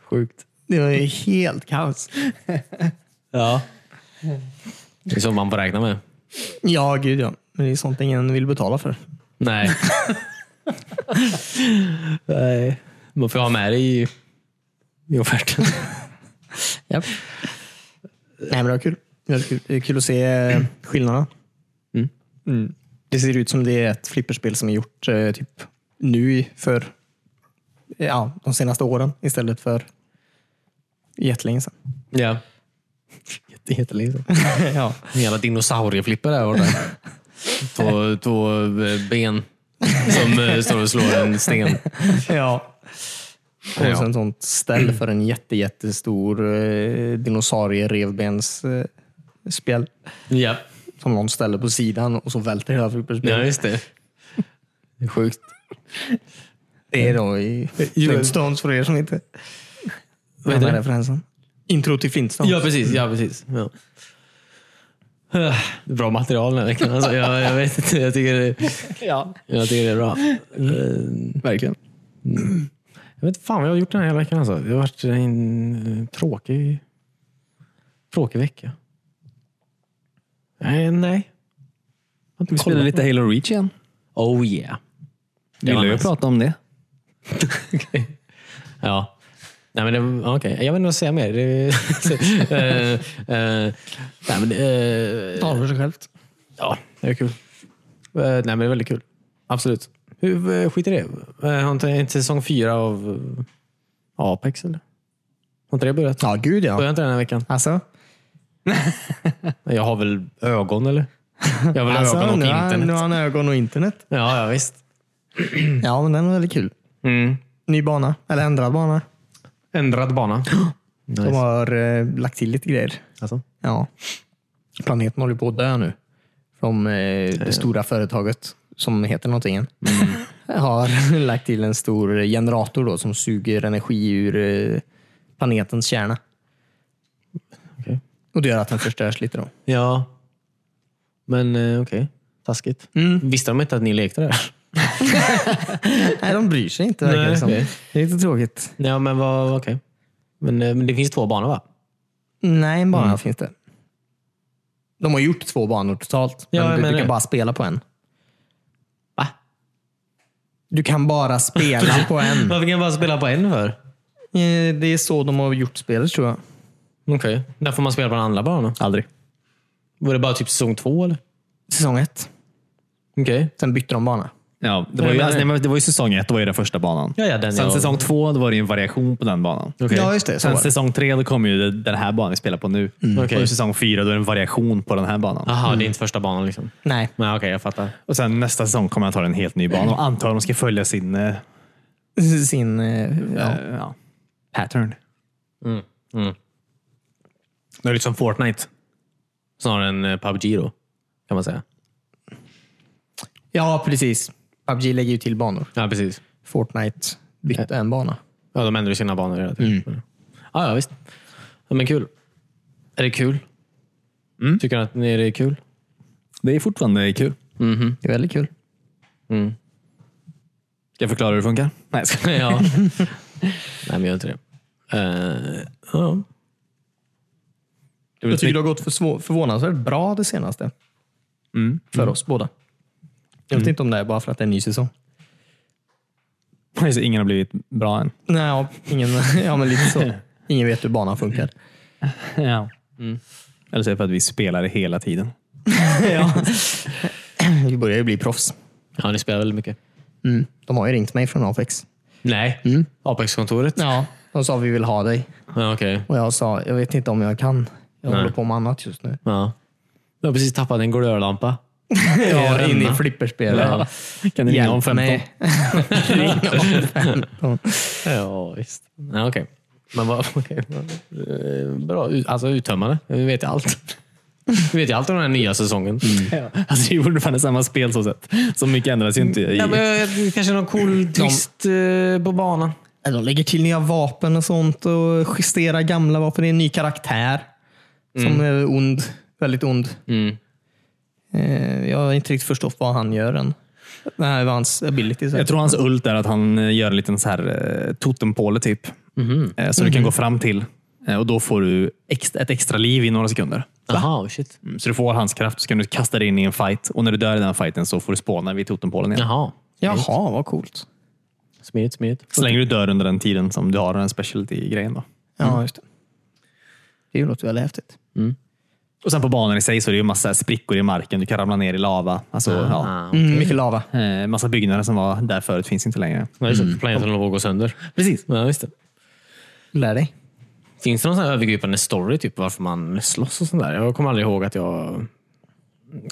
S1: Sjukt.
S2: Det var ju helt kaos.
S1: Ja. Det är som man får räkna med.
S2: Ja, gud ja. Men det är sånt ingen vill betala för.
S1: Nej. Nej. Man får ha med det i, i offerten.
S2: Yep. Nej, men det var kul. Det var kul, det är kul att se eh, skillnaderna.
S1: Mm.
S2: Mm. Det ser ut som det är ett flipperspel som är gjort eh, typ nu i- för eh, ja, de senaste åren istället för
S1: <laughs>
S2: jättelänge sedan.
S1: Ja. Jätte, jättelänge sedan.
S2: ja.
S1: En jävla dinosaurieflipper där borta. Två, två eh, ben som eh, står och slår en sten.
S2: ja. Och
S1: Ja.
S2: så en sånt ställ för en jätte, jättestor eh, dinosaurie-revbens eh, spjäll
S1: Ja,
S2: som någon ställer på sidan och så välter hela flipperspelet.
S1: ja just det. det är sjukt.
S2: Det
S1: Mm.
S2: är då i Flintstones för er som inte
S1: Eh, Vad heter
S2: kan
S1: det?
S2: referensen. Intro till Flintstones.
S1: Ja, precis. Ja, precis. Ja. Eh, Bra material den här veckan. Alltså, jag, jag vet inte. Jag tycker, det-
S3: Ja,
S1: jag tycker det är bra.
S3: verkligen.
S1: Jag vet inte fan vad jag har gjort den här hela veckan. Alltså. Det har varit en eh, tråkig, tråkig vecka. Eh, Nej, nej. Jag har inte
S3: Vi
S1: kollat
S3: spelade
S1: på-
S3: lite Halo Reach igen.
S1: Oh yeah. Det
S3: Gillar
S1: var
S3: ju att
S1: nice.
S3: prata om det.
S1: Ja. Nej, men det, ja, okej. Jag vet inte vad jag ska säga mer. Det, <laughs> eh, eh, nej, men, det- eh,
S2: Talar för sig självt.
S1: ja, det är kul. Eh, nej, men det är väldigt kul. Absolut. Hur, eh, skit i det. Eh, har inte inte säsong fyra av eh, Apex? Eller? Har inte det börjat?
S2: Ja, gud ja.
S1: Börjar inte den här veckan?
S2: Alltså,
S1: Jag har väl ögon eller? Jag har väl
S2: <laughs> alltså
S1: ögon och
S2: nu, har,
S1: internet. Mm.
S2: nu har han ögon och internet.
S1: Ja, ja visst.
S2: Ja, men den var väldigt kul.
S1: Mm.
S2: Ny bana, eller ändrad bana.
S1: Ändrad
S2: <gasps>
S1: bana.
S2: De
S1: nice.
S2: har eh, lagt till lite grejer.
S1: alltså.
S2: Ja. Planeten håller på att dö nu. Från eh, det stora företaget som heter någonting.
S1: Mm.
S2: <laughs> har <laughs> lagt till en stor generator då, som suger energi ur eh, planetens kärna.
S1: Okej.
S2: Och det gör att den förstörs lite. Då.
S1: Ja. Men eh, okej. Taskigt.
S2: Mm.
S1: Visste de inte att ni lekte där?
S2: Nej, de bryr sig inte verkar
S1: Nej,
S2: det som.
S1: okej.
S2: Det är lite tråkigt.
S1: <laughs> Ja, men vad, okej. Men, eh, men det finns två banor va?
S2: Nej, en bana
S1: Mm.
S2: finns det. De har gjort två banor totalt,
S1: Ja, jag
S2: men du,
S1: menar
S2: du
S1: det.
S2: kan bara spela på en.
S1: Va?
S2: Du kan
S1: <laughs>
S2: bara spela på en.
S1: Varför kan jag bara spela på en för?
S2: Eh, Det är så de har gjort spelet tror jag.
S1: Okej. När får man spela på den andra banan?
S3: Aldrig.
S1: Var det bara typ säsong två eller?
S2: Säsong ett.
S1: Okej.
S2: Sen bytte de bana.
S3: Ja, det,
S1: Nej,
S3: var ju,
S1: men-
S3: alltså, nej, men det var ju säsong ett, då var ju den första banan.
S1: Ja, ja, den
S3: Sen
S1: jag-
S3: säsong två, då var det ju en variation på den banan.
S1: Okej.
S2: Ja, just det. Så
S3: Sen
S2: var det. Mm.
S3: säsong tre, då kom ju det- den här banan vi spelar på nu.
S1: Okej.
S3: Och i säsong fyra, då är det en variation på den här banan.
S1: Aha, det är inte första banan liksom.
S2: Nej. <laughs>
S1: Men okej, jag fattar.
S3: Och sen nästa säsong kommer han ta en helt ny bana och antar att de ska följa sin eh,
S2: Sin... eh, Ja.
S3: eh, ja, pattern.
S1: Det är lite som Fortnite. Snarare än eh, PubG då, kan man säga.
S2: ja, precis. PubG lägger ju till banor.
S1: Ja, precis.
S2: Fortnite bytte en bana.
S1: Ja, de ändrar ju sina banor hela tiden. Mm. Ja, ja, visst. Ja, men kul. Är det kul? Tycker ni att ni- är det kul?
S3: Det är fortfarande kul.
S2: Det är väldigt kul.
S3: Ska jag förklara hur det funkar? Nej,
S1: <laughs>
S3: <laughs>
S1: ja. Nej, men gör inte det. Eh, ja.
S2: Jag tycker det har gått för svå- förvånansvärt bra det senaste. För oss båda. Jag vet inte om det är bara för att det är en ny säsong.
S3: jag ska... Alltså, Ingen har blivit bra än.
S2: Nej, ja, ingen, <laughs> ja, men lite så. Ingen vet hur banan <laughs> funkar.
S1: Mm.
S3: Eller så är det för att vi spelar det hela tiden.
S2: <clears throat> Vi börjar ju bli proffs.
S1: ja, ni spelar väldigt mycket.
S2: Mm. De har ju ringt mig från Apex.
S1: Nej, Apex-kontoret?
S2: Ja. De sa vi vill ha dig.
S1: Ja, okej.
S2: Och jag sa, jag vet inte om jag kan. Jag håller på med annat just nu.
S1: Ja. Du har precis tappat en glödlampa.
S2: <laughs> Ja, in i
S1: Ränna.
S2: flipperspel. Ja.
S3: Kan ni ringa om 15? <laughs>
S2: mig. Ring om 15.
S1: Ja, visst. Ja, okej. Men vad... <laughs> okej. Eh, Bra. Ut- Alltså uttömmande. Vi vet ju allt. Vi vet ju allt om den här nya säsongen.
S3: Alltså, det är fortfarande samma spel så sett. Så mycket ändras ju inte. I...
S1: Ja, men, eh, kanske någon cool twist eh, på banan.
S2: De lägger till nya vapen och sånt och justerar gamla vapen. Det är en ny karaktär som är ond. Väldigt ond.
S1: Mm.
S2: Eh, Jag har inte riktigt förstått vad han gör än. Det här var hans ability. så här.
S3: Jag tror hans ult är att han eh, gör en liten så här eh, totempåle typ. Eh, Som du kan gå fram till. Eh, Och Då får du extra, ett extra liv i några sekunder.
S1: Jaha, shit.
S3: Mm, Så du får hans kraft så kan du kasta dig in i en fight. Och när du dör i den fighten så får du spåna vid totempålen igen.
S1: Jaha.
S2: Jaha, vad coolt.
S1: Smidigt, smidigt.
S3: Så länge du dör under den tiden som du har den specialty-grejen. Då.
S2: Ja, just det. Det låter väldigt häftigt.
S3: Och sen på banan i sig så är det ju massa sprickor i marken. Du kan ramla ner i lava. Alltså, ja.
S1: Ah.
S2: Mm, mycket lava.
S3: Eh, Massa byggnader som var där förut finns inte längre.
S1: Ja, just det. Planeten håller på att gå sönder. Mm. Precis. Ja, just det.
S2: Lär dig.
S1: Finns det någon sån här övergripande story, typ varför man slåss och sånt där? Jag kommer aldrig ihåg att jag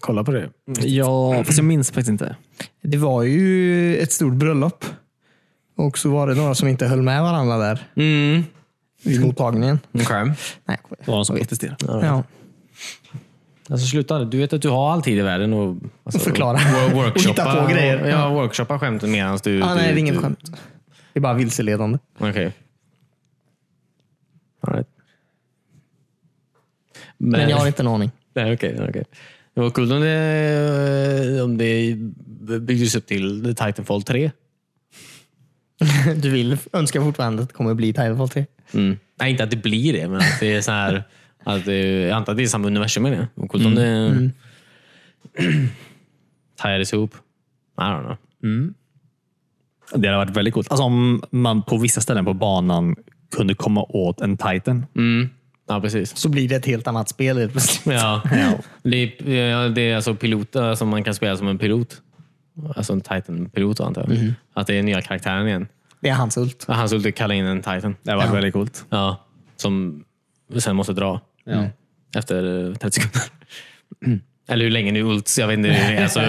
S1: kollade på det.
S3: Ja, fast jag minns faktiskt inte.
S2: Det var ju ett stort bröllop. Och så var det några som inte höll med varandra där
S1: Mm.
S2: vid mottagningen.
S1: Okej.
S2: Nej,
S3: Det var någon som protesterade.
S2: ja.
S1: Alltså sluta. Du vet att du har all tid i världen och alltså,
S2: Förklara.
S1: wo- workshoppa,
S2: Och <laughs> hitta på grejer.
S1: ja, workshoppa skämten medan du...
S2: Ah,
S1: du,
S2: nej, det är
S1: du-
S2: inget skämt. Det är bara vilseledande.
S1: Okej. All right. Men,
S2: Men jag har inte en aning.
S1: <laughs>
S2: <laughs>
S1: Nej, okej. Okay, Det var kul om det, om det byggdes upp till Titanfall 3.
S2: du vill önskar fortfarande att det kommer bli Titanfall 3.
S1: Mm. Nej, inte att det blir det, men att det är så här... Att det, jag antar att det är samma universum menar jag. Och Coolt om det Mm. <clears throat> tajades ihop. I don't know.
S3: Det hade varit väldigt coolt. Alltså om man på vissa ställen på banan kunde komma åt en titan.
S1: Ja, precis.
S2: Så blir det ett helt annat spel helt plötsligt.
S1: Mm. Ja. Det, är, ja, det är alltså piloter som man kan spela som en pilot. Alltså en Titan-pilot antar jag. Att det är nya karaktären igen.
S2: Det är hans ult.
S1: Att Han skulle kalla in en Titan.
S3: Det hade varit väldigt coolt.
S1: Ja, som sen måste dra. Mm. Efter eh, 30 sekunder. Eller hur länge nu ults, jag vet <laughs> inte. Alltså,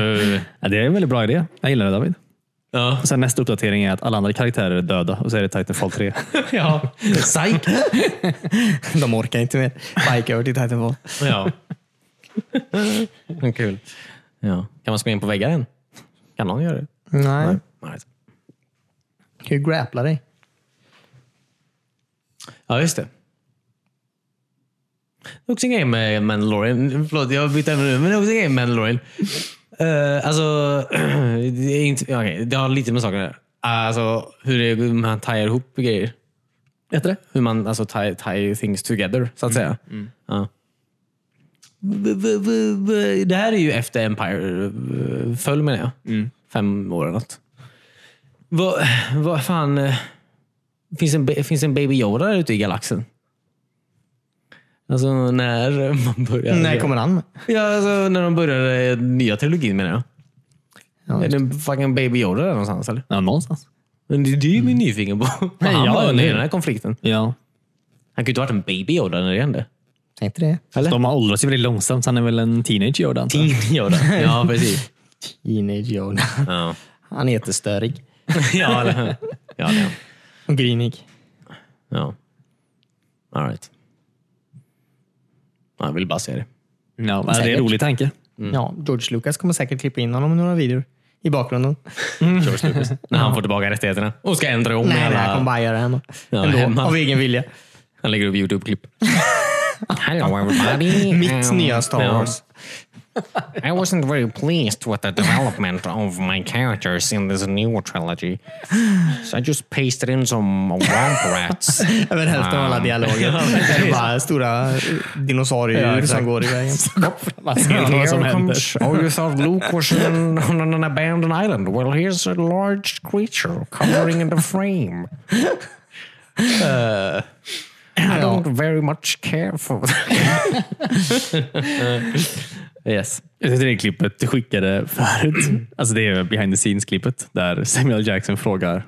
S3: Ja, det är en väldigt bra idé. Jag gillar det David.
S1: ja.
S3: Och sen nästa uppdatering är att alla andra karaktärer är döda och så är det
S1: <laughs>
S3: Titanfall 3.
S1: ja. Psych!
S2: <laughs> De orkar inte mer. Bara gick över till Titanfall.
S1: Ja. <laughs> Kul. Ja. Kan man springa in på väggar än? Kan någon göra det?
S2: Nej.
S1: Nej.
S2: Hur grapplar dig?
S1: Ja, just det. Det är också en grej med Mandalorian. Förlåt, jag bytte ämne nu. Men det är också en grej med Mandalorian. Uh, alltså, <clears throat> det, är inte, ja, okej, det har lite med saker att göra. Alltså hur det, hur man tajar ihop grejer. Heter det? Hur man alltså tie, tie things together, så att säga. Ja. B- b- b- b- Det här är ju efter Empire eh, föll menar jag. Fem år eller något. Vad, vad fan... eh, Finns en, ba- finns en Baby Yoda där ute i galaxen? Alltså när man börjar...
S2: När kommer han med?
S1: Ja, alltså, när de började nya trilogin menar jag.
S2: Ja,
S1: är det en fucking Baby Yoda där någonstans eller?
S3: Ja, någonstans.
S1: Men det, det är ju min nyfiken på. Vad
S3: Nej,
S1: han
S3: ja,
S1: var
S3: eller
S1: under
S3: hur?
S1: den här konflikten.
S3: Ja.
S1: Han kunde ju inte ha varit en Baby Yoda när det hände.
S2: Säg inte det.
S1: Eller?
S3: De har åldrats ju väldigt långsamt, så han är väl en teenager Yoda. antar jag.
S1: Teen Yoda. Ja, precis.
S2: Teenage Yoda.
S1: Ja,
S2: <laughs> Han är jättestörig.
S1: ja, eller, hur? ja, det är han.
S2: Och grinig.
S1: ja. All right. Ja, Jag vill bara se det.
S3: Ja, men det är
S2: Säkert.
S3: en rolig tanke.
S2: Ja, George Lucas kommer säkert klippa in honom i några videor. I bakgrunden.
S1: När han får tillbaka rättigheterna och ska ändra om
S2: Nej, nej,
S1: alla-
S2: han kommer bara göra det ändå.
S1: Ja,
S2: ändå
S1: hemma.
S2: av egen vilja.
S1: Han lägger upp Youtube-klipp. Hello everybody. Um,
S2: Mitt nya Star Wars.
S1: I wasn't very pleased with the development of my characters in this new trilogy. So I just pasted in some womp rats.
S2: Över hälften av alla <laughs> dialoger. Det är bara stora
S3: Ja,
S2: dinosaurier
S3: exakt.
S2: som går i vägen.
S3: Man ser inte vad som händer.
S1: Oh, you thought Luke was in, on an abandoned island. Well, here's a large creature covering in the frame. Eh, I
S2: Ja.
S1: don't very much care for that. yes.
S3: Jag tyckte det klippet du skickade förut, <clears throat> alltså det är behind the scenes-klippet där Samuel Jackson frågar.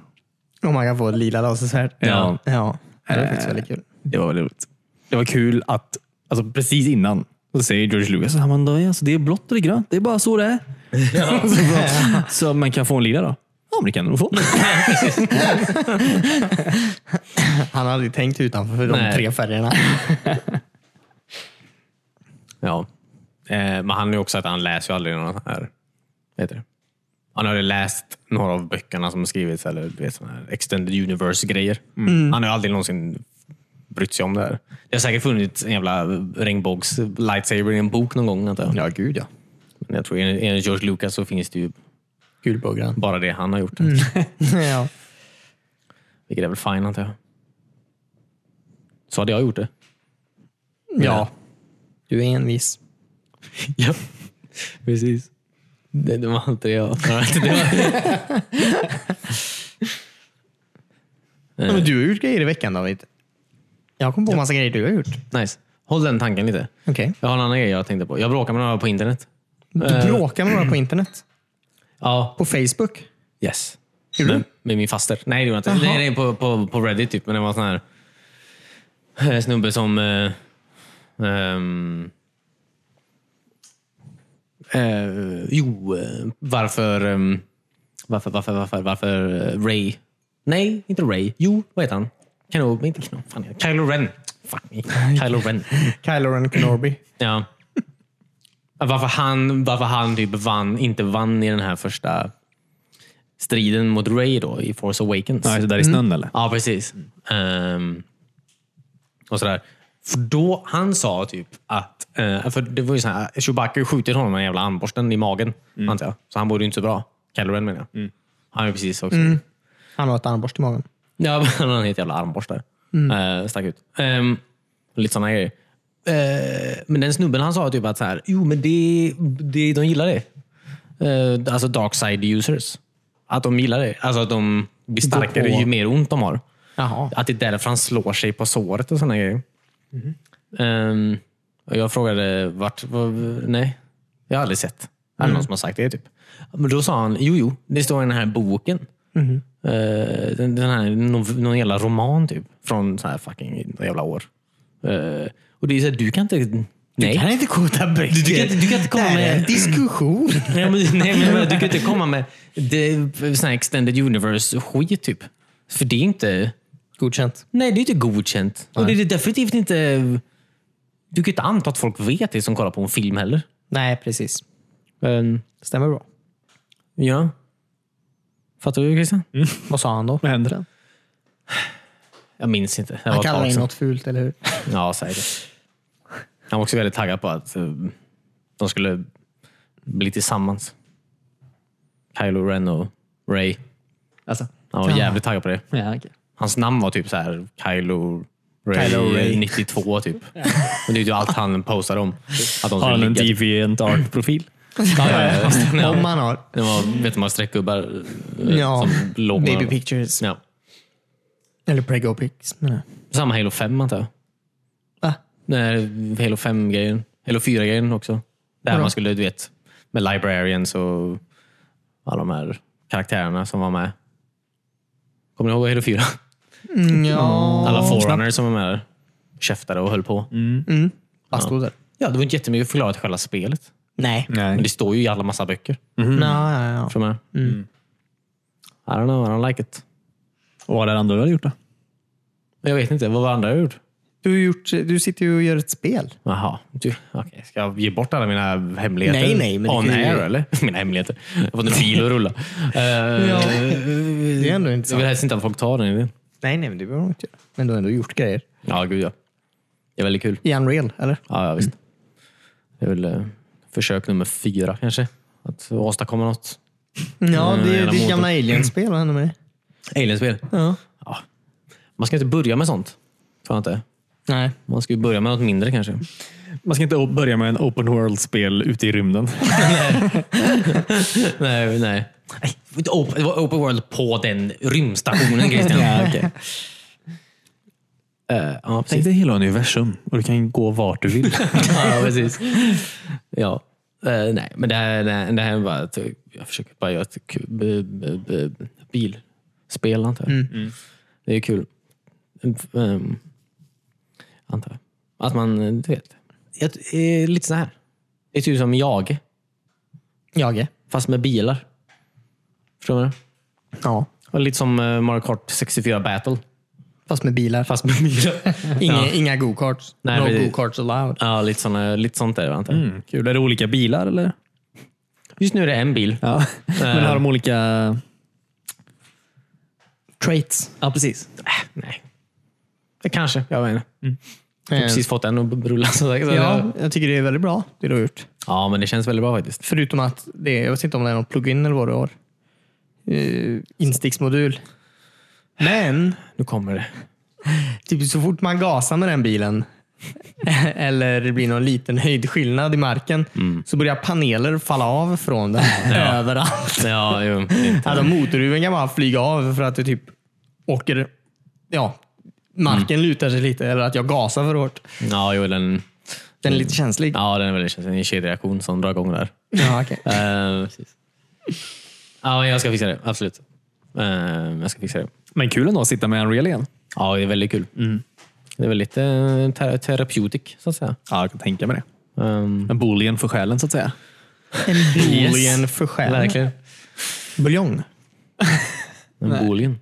S2: Om man kan få ett lila lasersvärd.
S3: Ja.
S2: ja. Eh. Det är faktiskt väldigt kul.
S3: Det var väldigt roligt. Det var kul att, alltså precis innan, så säger George Lucas, "Ja, men då är alltså, det är blått och det är grönt, det är bara så det är. så, bara, <laughs> så man kan få en lila då? Ja, men det kan du nog få.
S2: Han hade aldrig tänkt utanför för de
S1: Nej.
S2: tre färgerna.
S1: Ja. Eh, men han är ju också att han läser ju aldrig någon sån här... Vad heter det? Han har ju läst några av böckerna som skrivits, eller du vet, sån här extended universe-grejer. Mm. Han har ju aldrig någonsin brytt sig om det här. Det har säkert funnits en jävla regnbågs lightsaber i en bok någon gång, antar jag.
S2: Ja, gud ja.
S1: Men jag tror enligt enligt George Lucas så finns det ju
S2: Gulbuggran.
S1: bara det han har gjort.
S2: <laughs> ja.
S1: Vilket är väl fine, antar jag. Så hade jag gjort det.
S2: ja. Du är envis.
S1: Ja, precis. Det, det var inte det jag. Det var-
S2: Ja, men du har gjort grejer i veckan David. Jag kom på massa grejer du har gjort.
S1: <laughs> Nice. Håll den tanken lite.
S2: Okej.
S1: Jag har en annan grej jag tänkte på. Jag bråkar med några på internet.
S2: Du bråkar med några på internet.
S1: Ja.
S2: På Facebook.
S1: Yes.
S2: Gjorde
S1: Med,
S2: du?
S1: med min faster. Nej, det gjorde jag
S2: Jaha.
S1: inte. Nej, nej, på, på, på Reddit typ. Men det var en sån här eh, snubbe som... Eh, ehm, eh, jo, eh, varför, ehm, varför, varför, varför, varför eh, Ray? Nej, inte Ray. Jo, vad heter han? Kenobi, men inte Kenobi. Fan, Kylo Ren. Fuck me. Kylo Ren.
S2: Kylo Ren Kenobi.
S1: Ja. Varför han, varför han typ vann, inte vann i den här första striden mot Ray då, i Force Awakens.
S3: Mm. Ja, så där i snön eller?
S1: Ja, precis. Ehm, och sådär. För då, han sa typ att, eh, för det var ju så här, Chewbacca har ju skjutit honom med den jävla armborsten i magen, antar jag. Så han borde ju inte så bra. Kylo Ren menar jag. Han är ju precis också.
S2: Han har ett armborst i magen.
S1: <laughs> Ja, men han har en helt jävla armborste. Eh, stack ut. Ehm, lite sådana grejer. Eh, men den snubben han sa typ att så här, jo men det, det, de gillar det. Eh, alltså dark side users. Att de gillar det. Alltså att de blir starkare
S2: på.
S1: ju mer ont de har.
S2: Jaha.
S1: Att det är därför han slår sig på såret och sådana grejer. Ehm, och jag frågade vart... Vad, nej, jag har aldrig sett. Är det
S2: Mm.
S1: någon som har sagt det? typ? Men Då sa han, jo, jo, det står i den här boken.
S2: Mm-hmm.
S1: Eh, den, den här, någon, någon jävla roman typ. Från så här fucking jävla år. Eh, och det är så här, du kan inte... nej.
S2: Kan inte kota böcker.
S1: Du kan inte- du kan inte komma
S2: det här är en
S1: med-
S2: diskussion.
S1: Nej, men, nej, men,
S2: <laughs>
S1: men, du kan inte komma med det, sån här extended universe-skit typ. För det är inte...
S2: Godkänt.
S1: Nej, det är inte godkänt. Och det är definitivt inte... Du kan inte anta att folk vet det som kollar på en film heller.
S2: Nej, precis.
S1: Men,
S2: Stämmer bra.
S1: ja. Fattar du Christian?
S3: Mm.
S2: Vad sa han då?
S3: Vad händer den?
S1: Jag minns inte. Det
S2: Han
S1: var ett
S2: kallade
S1: tag
S2: in
S1: sedan.
S2: något fult, eller hur?
S1: Ja, säg det. Han var också väldigt taggad på att eh, de skulle bli tillsammans. Kylo Ren och Ray.
S3: Alltså,
S1: Han var jävligt taggad på det.
S3: ja, okay.
S1: Hans namn var typ så här Kylo Ray,
S2: Kylo Ray.
S1: 92 typ. Men det är ju allt han postade om. Att de
S3: Har
S1: skulle
S3: han en
S1: ligga. typ.
S3: deviant art-profil?
S1: Ja, ja,
S2: <laughs>
S1: ja, visst. Ja.
S2: Om man har.
S1: Det var, vet du, man streckgubbar eh,
S2: Ja,
S1: som låg
S2: Baby
S1: med
S2: pictures.
S1: ja.
S2: Eller prego pics, menar jag.
S1: Samma Halo 5 antar jag.
S2: Va?
S1: Nej, Halo 5-grejen. Halo 4-grejen också. Där
S2: Vadå?
S1: man skulle, du vet, med librarians och alla de här karaktärerna som var med. Kommer ni ihåg Halo 4?
S2: Mm, ja.
S1: Alla forerunners som var med där. Käftade och höll på.
S2: Vad stod det?
S1: Ja, det var inte jättemycket förklarat i själva spelet.
S2: Nej.
S1: Men
S3: Nej.
S1: det står ju i alla massa böcker.
S2: Ja, ja, ja.
S1: Från här.
S2: Mm.
S1: I don't know, I don't like it.
S3: Och vad är det andra du har gjort då?
S1: Men Jag vet inte, vad var andra jag gjort?
S2: Du, har gjort, du sitter ju och gör ett spel.
S1: Jaha. Du, okej. Ska jag ge bort alla mina hemligheter?
S2: Nej, nej, men det
S1: On
S2: kan ju-
S1: air, eller? <laughs> Mina hemligheter. Jag har fått en fil att rulla. Eh, <laughs>
S2: Det är ändå
S1: Jag
S2: intressant.
S1: vill helst inte att folk tar den idén.
S2: Nej, nej, men det behöver man inte göra. Men du har ändå gjort grejer.
S1: Ja, gud ja. Det är väldigt kul.
S2: I Unreal, eller?
S1: Ja, ja visst. Det är väl eh, försök nummer fyra kanske. Att åstadkomma något.
S2: Ja,
S1: Mm,
S2: det är
S1: hela
S2: ditt
S1: motorn.
S2: gamla Alien-spel. Vad hände med det?
S1: Alienspel.
S2: Ja.
S1: Man ska inte börja med sånt. Tror jag inte.
S2: Nej.
S1: Man ska ju börja med något mindre kanske.
S3: Man ska inte o- börja med en open world-spel ute i rymden.
S1: nej, nej. Nej, open- Det var open world på den rymdstationen Christian. ja, ja, precis.
S3: Tänk dig hela universum och du kan gå vart du vill.
S1: <laughs> ja, precis. Ja. Eh, nej, men det här, det här, det här är bara att jag försöker bara göra ett kul, b, b, b, bilspel, antar jag. Det är kul. Um, antar jag. Att man, du vet. Jag, eh, lite så här. Det är typ som jag,
S2: Jag är.
S1: fast med bilar. Förstår du? vad jag menar?
S2: Ja.
S1: Och Lite som eh, Mario Kart 64 Battle,
S2: Fast med bilar.
S1: fast med bilar.
S2: Inga,
S1: Ja.
S2: inga go-karts.
S1: Nej,
S2: no
S1: precis.
S2: go-karts allowed.
S1: ja, lite, såna, lite sånt är det, antar jag.
S3: Mm, kul. Är det olika bilar eller?
S1: Just nu är det en bil.
S3: Ja. Men
S2: Eh.
S3: har de olika...
S2: Traits.
S3: Ja, precis.
S1: Äh, nej. Eh, Kanske, jag vet inte.
S2: Eh,
S1: Jag har precis fått en att rulla. Så så
S2: Ja, jag tycker det är väldigt bra, det du har gjort.
S1: ja, men det känns väldigt bra faktiskt.
S2: Förutom att det, jag vet inte om det är någon plugin eller vad du har. Eh, insticksmodul. Men,
S1: Nu kommer det.
S2: typ så fort man gasar med den bilen <laughs> eller det blir någon liten höjdskillnad i marken
S1: Mm.
S2: så börjar paneler falla av
S1: <laughs>
S2: från den överallt.
S1: Ja, jo, det är inte-
S2: Alltså, motorhuven kan bara flyga av för att du typ åker... Ja, marken
S1: Mm.
S2: lutar sig lite eller att jag gasar för hårt.
S1: ja, jo, den,
S2: Den är lite känslig.
S1: ja, den är väldigt känslig. Det är en kedjereaktion som drar igång där.
S2: Ja, <laughs> okej.
S1: Eh, precis. ja, men jag ska fixa det. Absolut. Eh, jag ska fixa det.
S3: Men kul ändå att sitta med Unreal igen.
S1: Ja, det är väldigt kul.
S2: Mm.
S1: Det är väldigt eh, ter- therapeutic, så att säga.
S3: Ja, jag kan tänka mig det.
S1: Ehm,
S3: En boolean för själen så att säga.
S2: En boolean för själen.
S1: verkligen.
S2: Buljong.
S1: En boolean.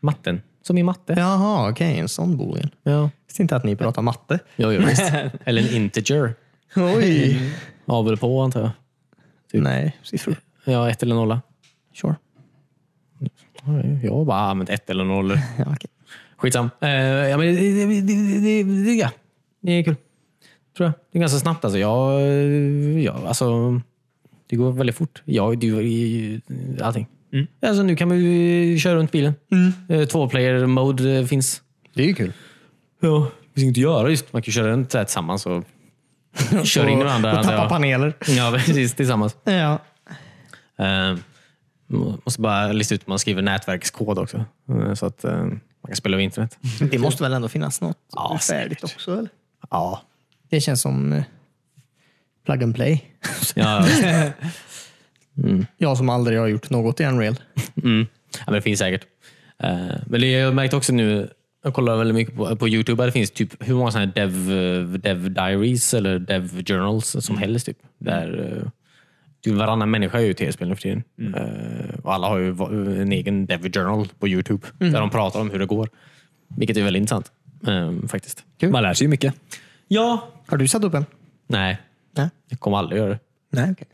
S1: Matten. Som i matte.
S2: Jaha, okej. En sån boolean.
S1: Ja,
S2: Visste inte att ni pratar matte.
S1: ja jo,
S2: <laughs>
S1: visst. Eller en integer.
S2: Oj.
S1: Av eller på, antar jag.
S2: Typ. Nej, siffror.
S1: Ja, ett eller nolla.
S2: Sure.
S1: Jag har bara använt ett eller noll.
S2: Ja, okej.
S1: Skitsam. Eh, ja, men det, det, det, det, det, det, ja. det är kul. Tror jag. Det är ganska snabbt. Alltså. eh, Jag, ja, alltså, det går väldigt fort. Jag, du, allting. Alltså, nu kan man ju köra runt bilen. Mm. Tvåplayer mode eh, finns.
S2: Det är ju kul.
S1: Ja, det finns inget att göra just. Man kan ju köra runt så här tillsammans <laughs> och köra in
S2: och,
S1: de andra.
S2: och tappa
S1: ja.
S2: paneler.
S1: ja, precis. Tillsammans.
S2: Ja.
S1: Eh, må- måste bara lista ut hur man skriver nätverkskod också. eh, Så att eh, man kan spela över internet.
S2: Det måste väl ändå finnas något
S1: Ja,
S2: färdigt
S1: säkert.
S2: också? Eller?
S1: Ja.
S2: Det känns som eh, plug and play.
S1: ja visst.
S2: Jag som aldrig har gjort något i Unreal.
S1: Mm. Ja, men det finns säkert. Eh, men det jag märkt också nu, jag kollar väldigt mycket på, på Youtube, där det finns typ hur många sådana här dev, eh, dev diaries eller dev journals som helst. Typ. Där, eh, typ varannan människa är ju tv-spel nu för tiden. Eh, och alla har ju va- en egen dev journal på Youtube där de pratar om hur det går. Vilket är väldigt intressant eh, faktiskt.
S3: Man lär sig ju mycket.
S1: Ja.
S2: Har du satt upp en?
S1: Nej,
S2: Nej.
S1: jag kommer aldrig göra det.
S2: Nej, okej.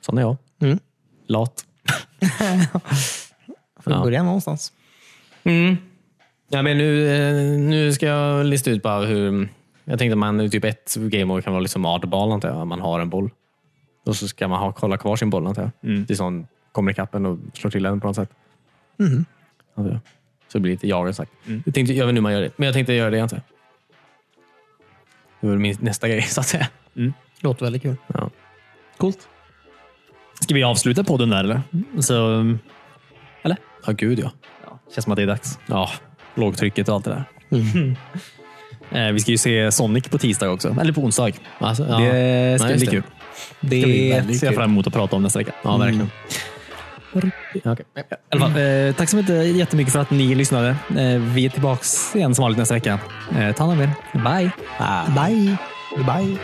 S1: Sån är jag.
S2: Mm.
S1: Lat.
S2: Får
S1: Ja.
S2: börja någonstans.
S1: Mm. Ja, men nu, eh, nu ska jag lista ut bara hur... Jag tänkte att man typ ett gameover kan vara liksom adball, antar jag. Man har en boll. Och så ska man ha, kolla kvar sin boll, antar jag.
S3: Mm.
S1: Tills någon kommer ikapp en och slår till den på något sätt. Antar jag. Så det blir lite jag sagt.
S3: Mm.
S1: Jag, tänkte, jag vet inte hur man gör det, men jag tänkte göra det, antar jag. Det var min nästa grej, så att säga.
S2: Låter väldigt kul.
S1: Ja.
S3: Coolt. Ska vi avsluta podden där eller?
S1: Mm.
S3: Så, um, eller?
S1: Ja, gud ja.
S3: Känns som att det är dags.
S1: Ja,
S3: Lågtrycket och allt det där. <laughs> Eh, vi ska ju se Sonic på tisdag också. Eller på onsdag.
S1: alltså, ja.
S3: Det ska
S1: Ja, just
S3: bli
S1: det.
S3: kul. Det
S1: bli väldigt
S3: ser jag
S1: kul.
S3: fram emot att prata om nästa vecka.
S1: Ja, verkligen.
S3: Ja, okej. I alla fall, eh, tack så mycket, jättemycket för att ni lyssnade. Eh, vi är tillbaka igen som vanligt nästa vecka. Eh, ta hand om er. Bye!
S2: Bye! Bye!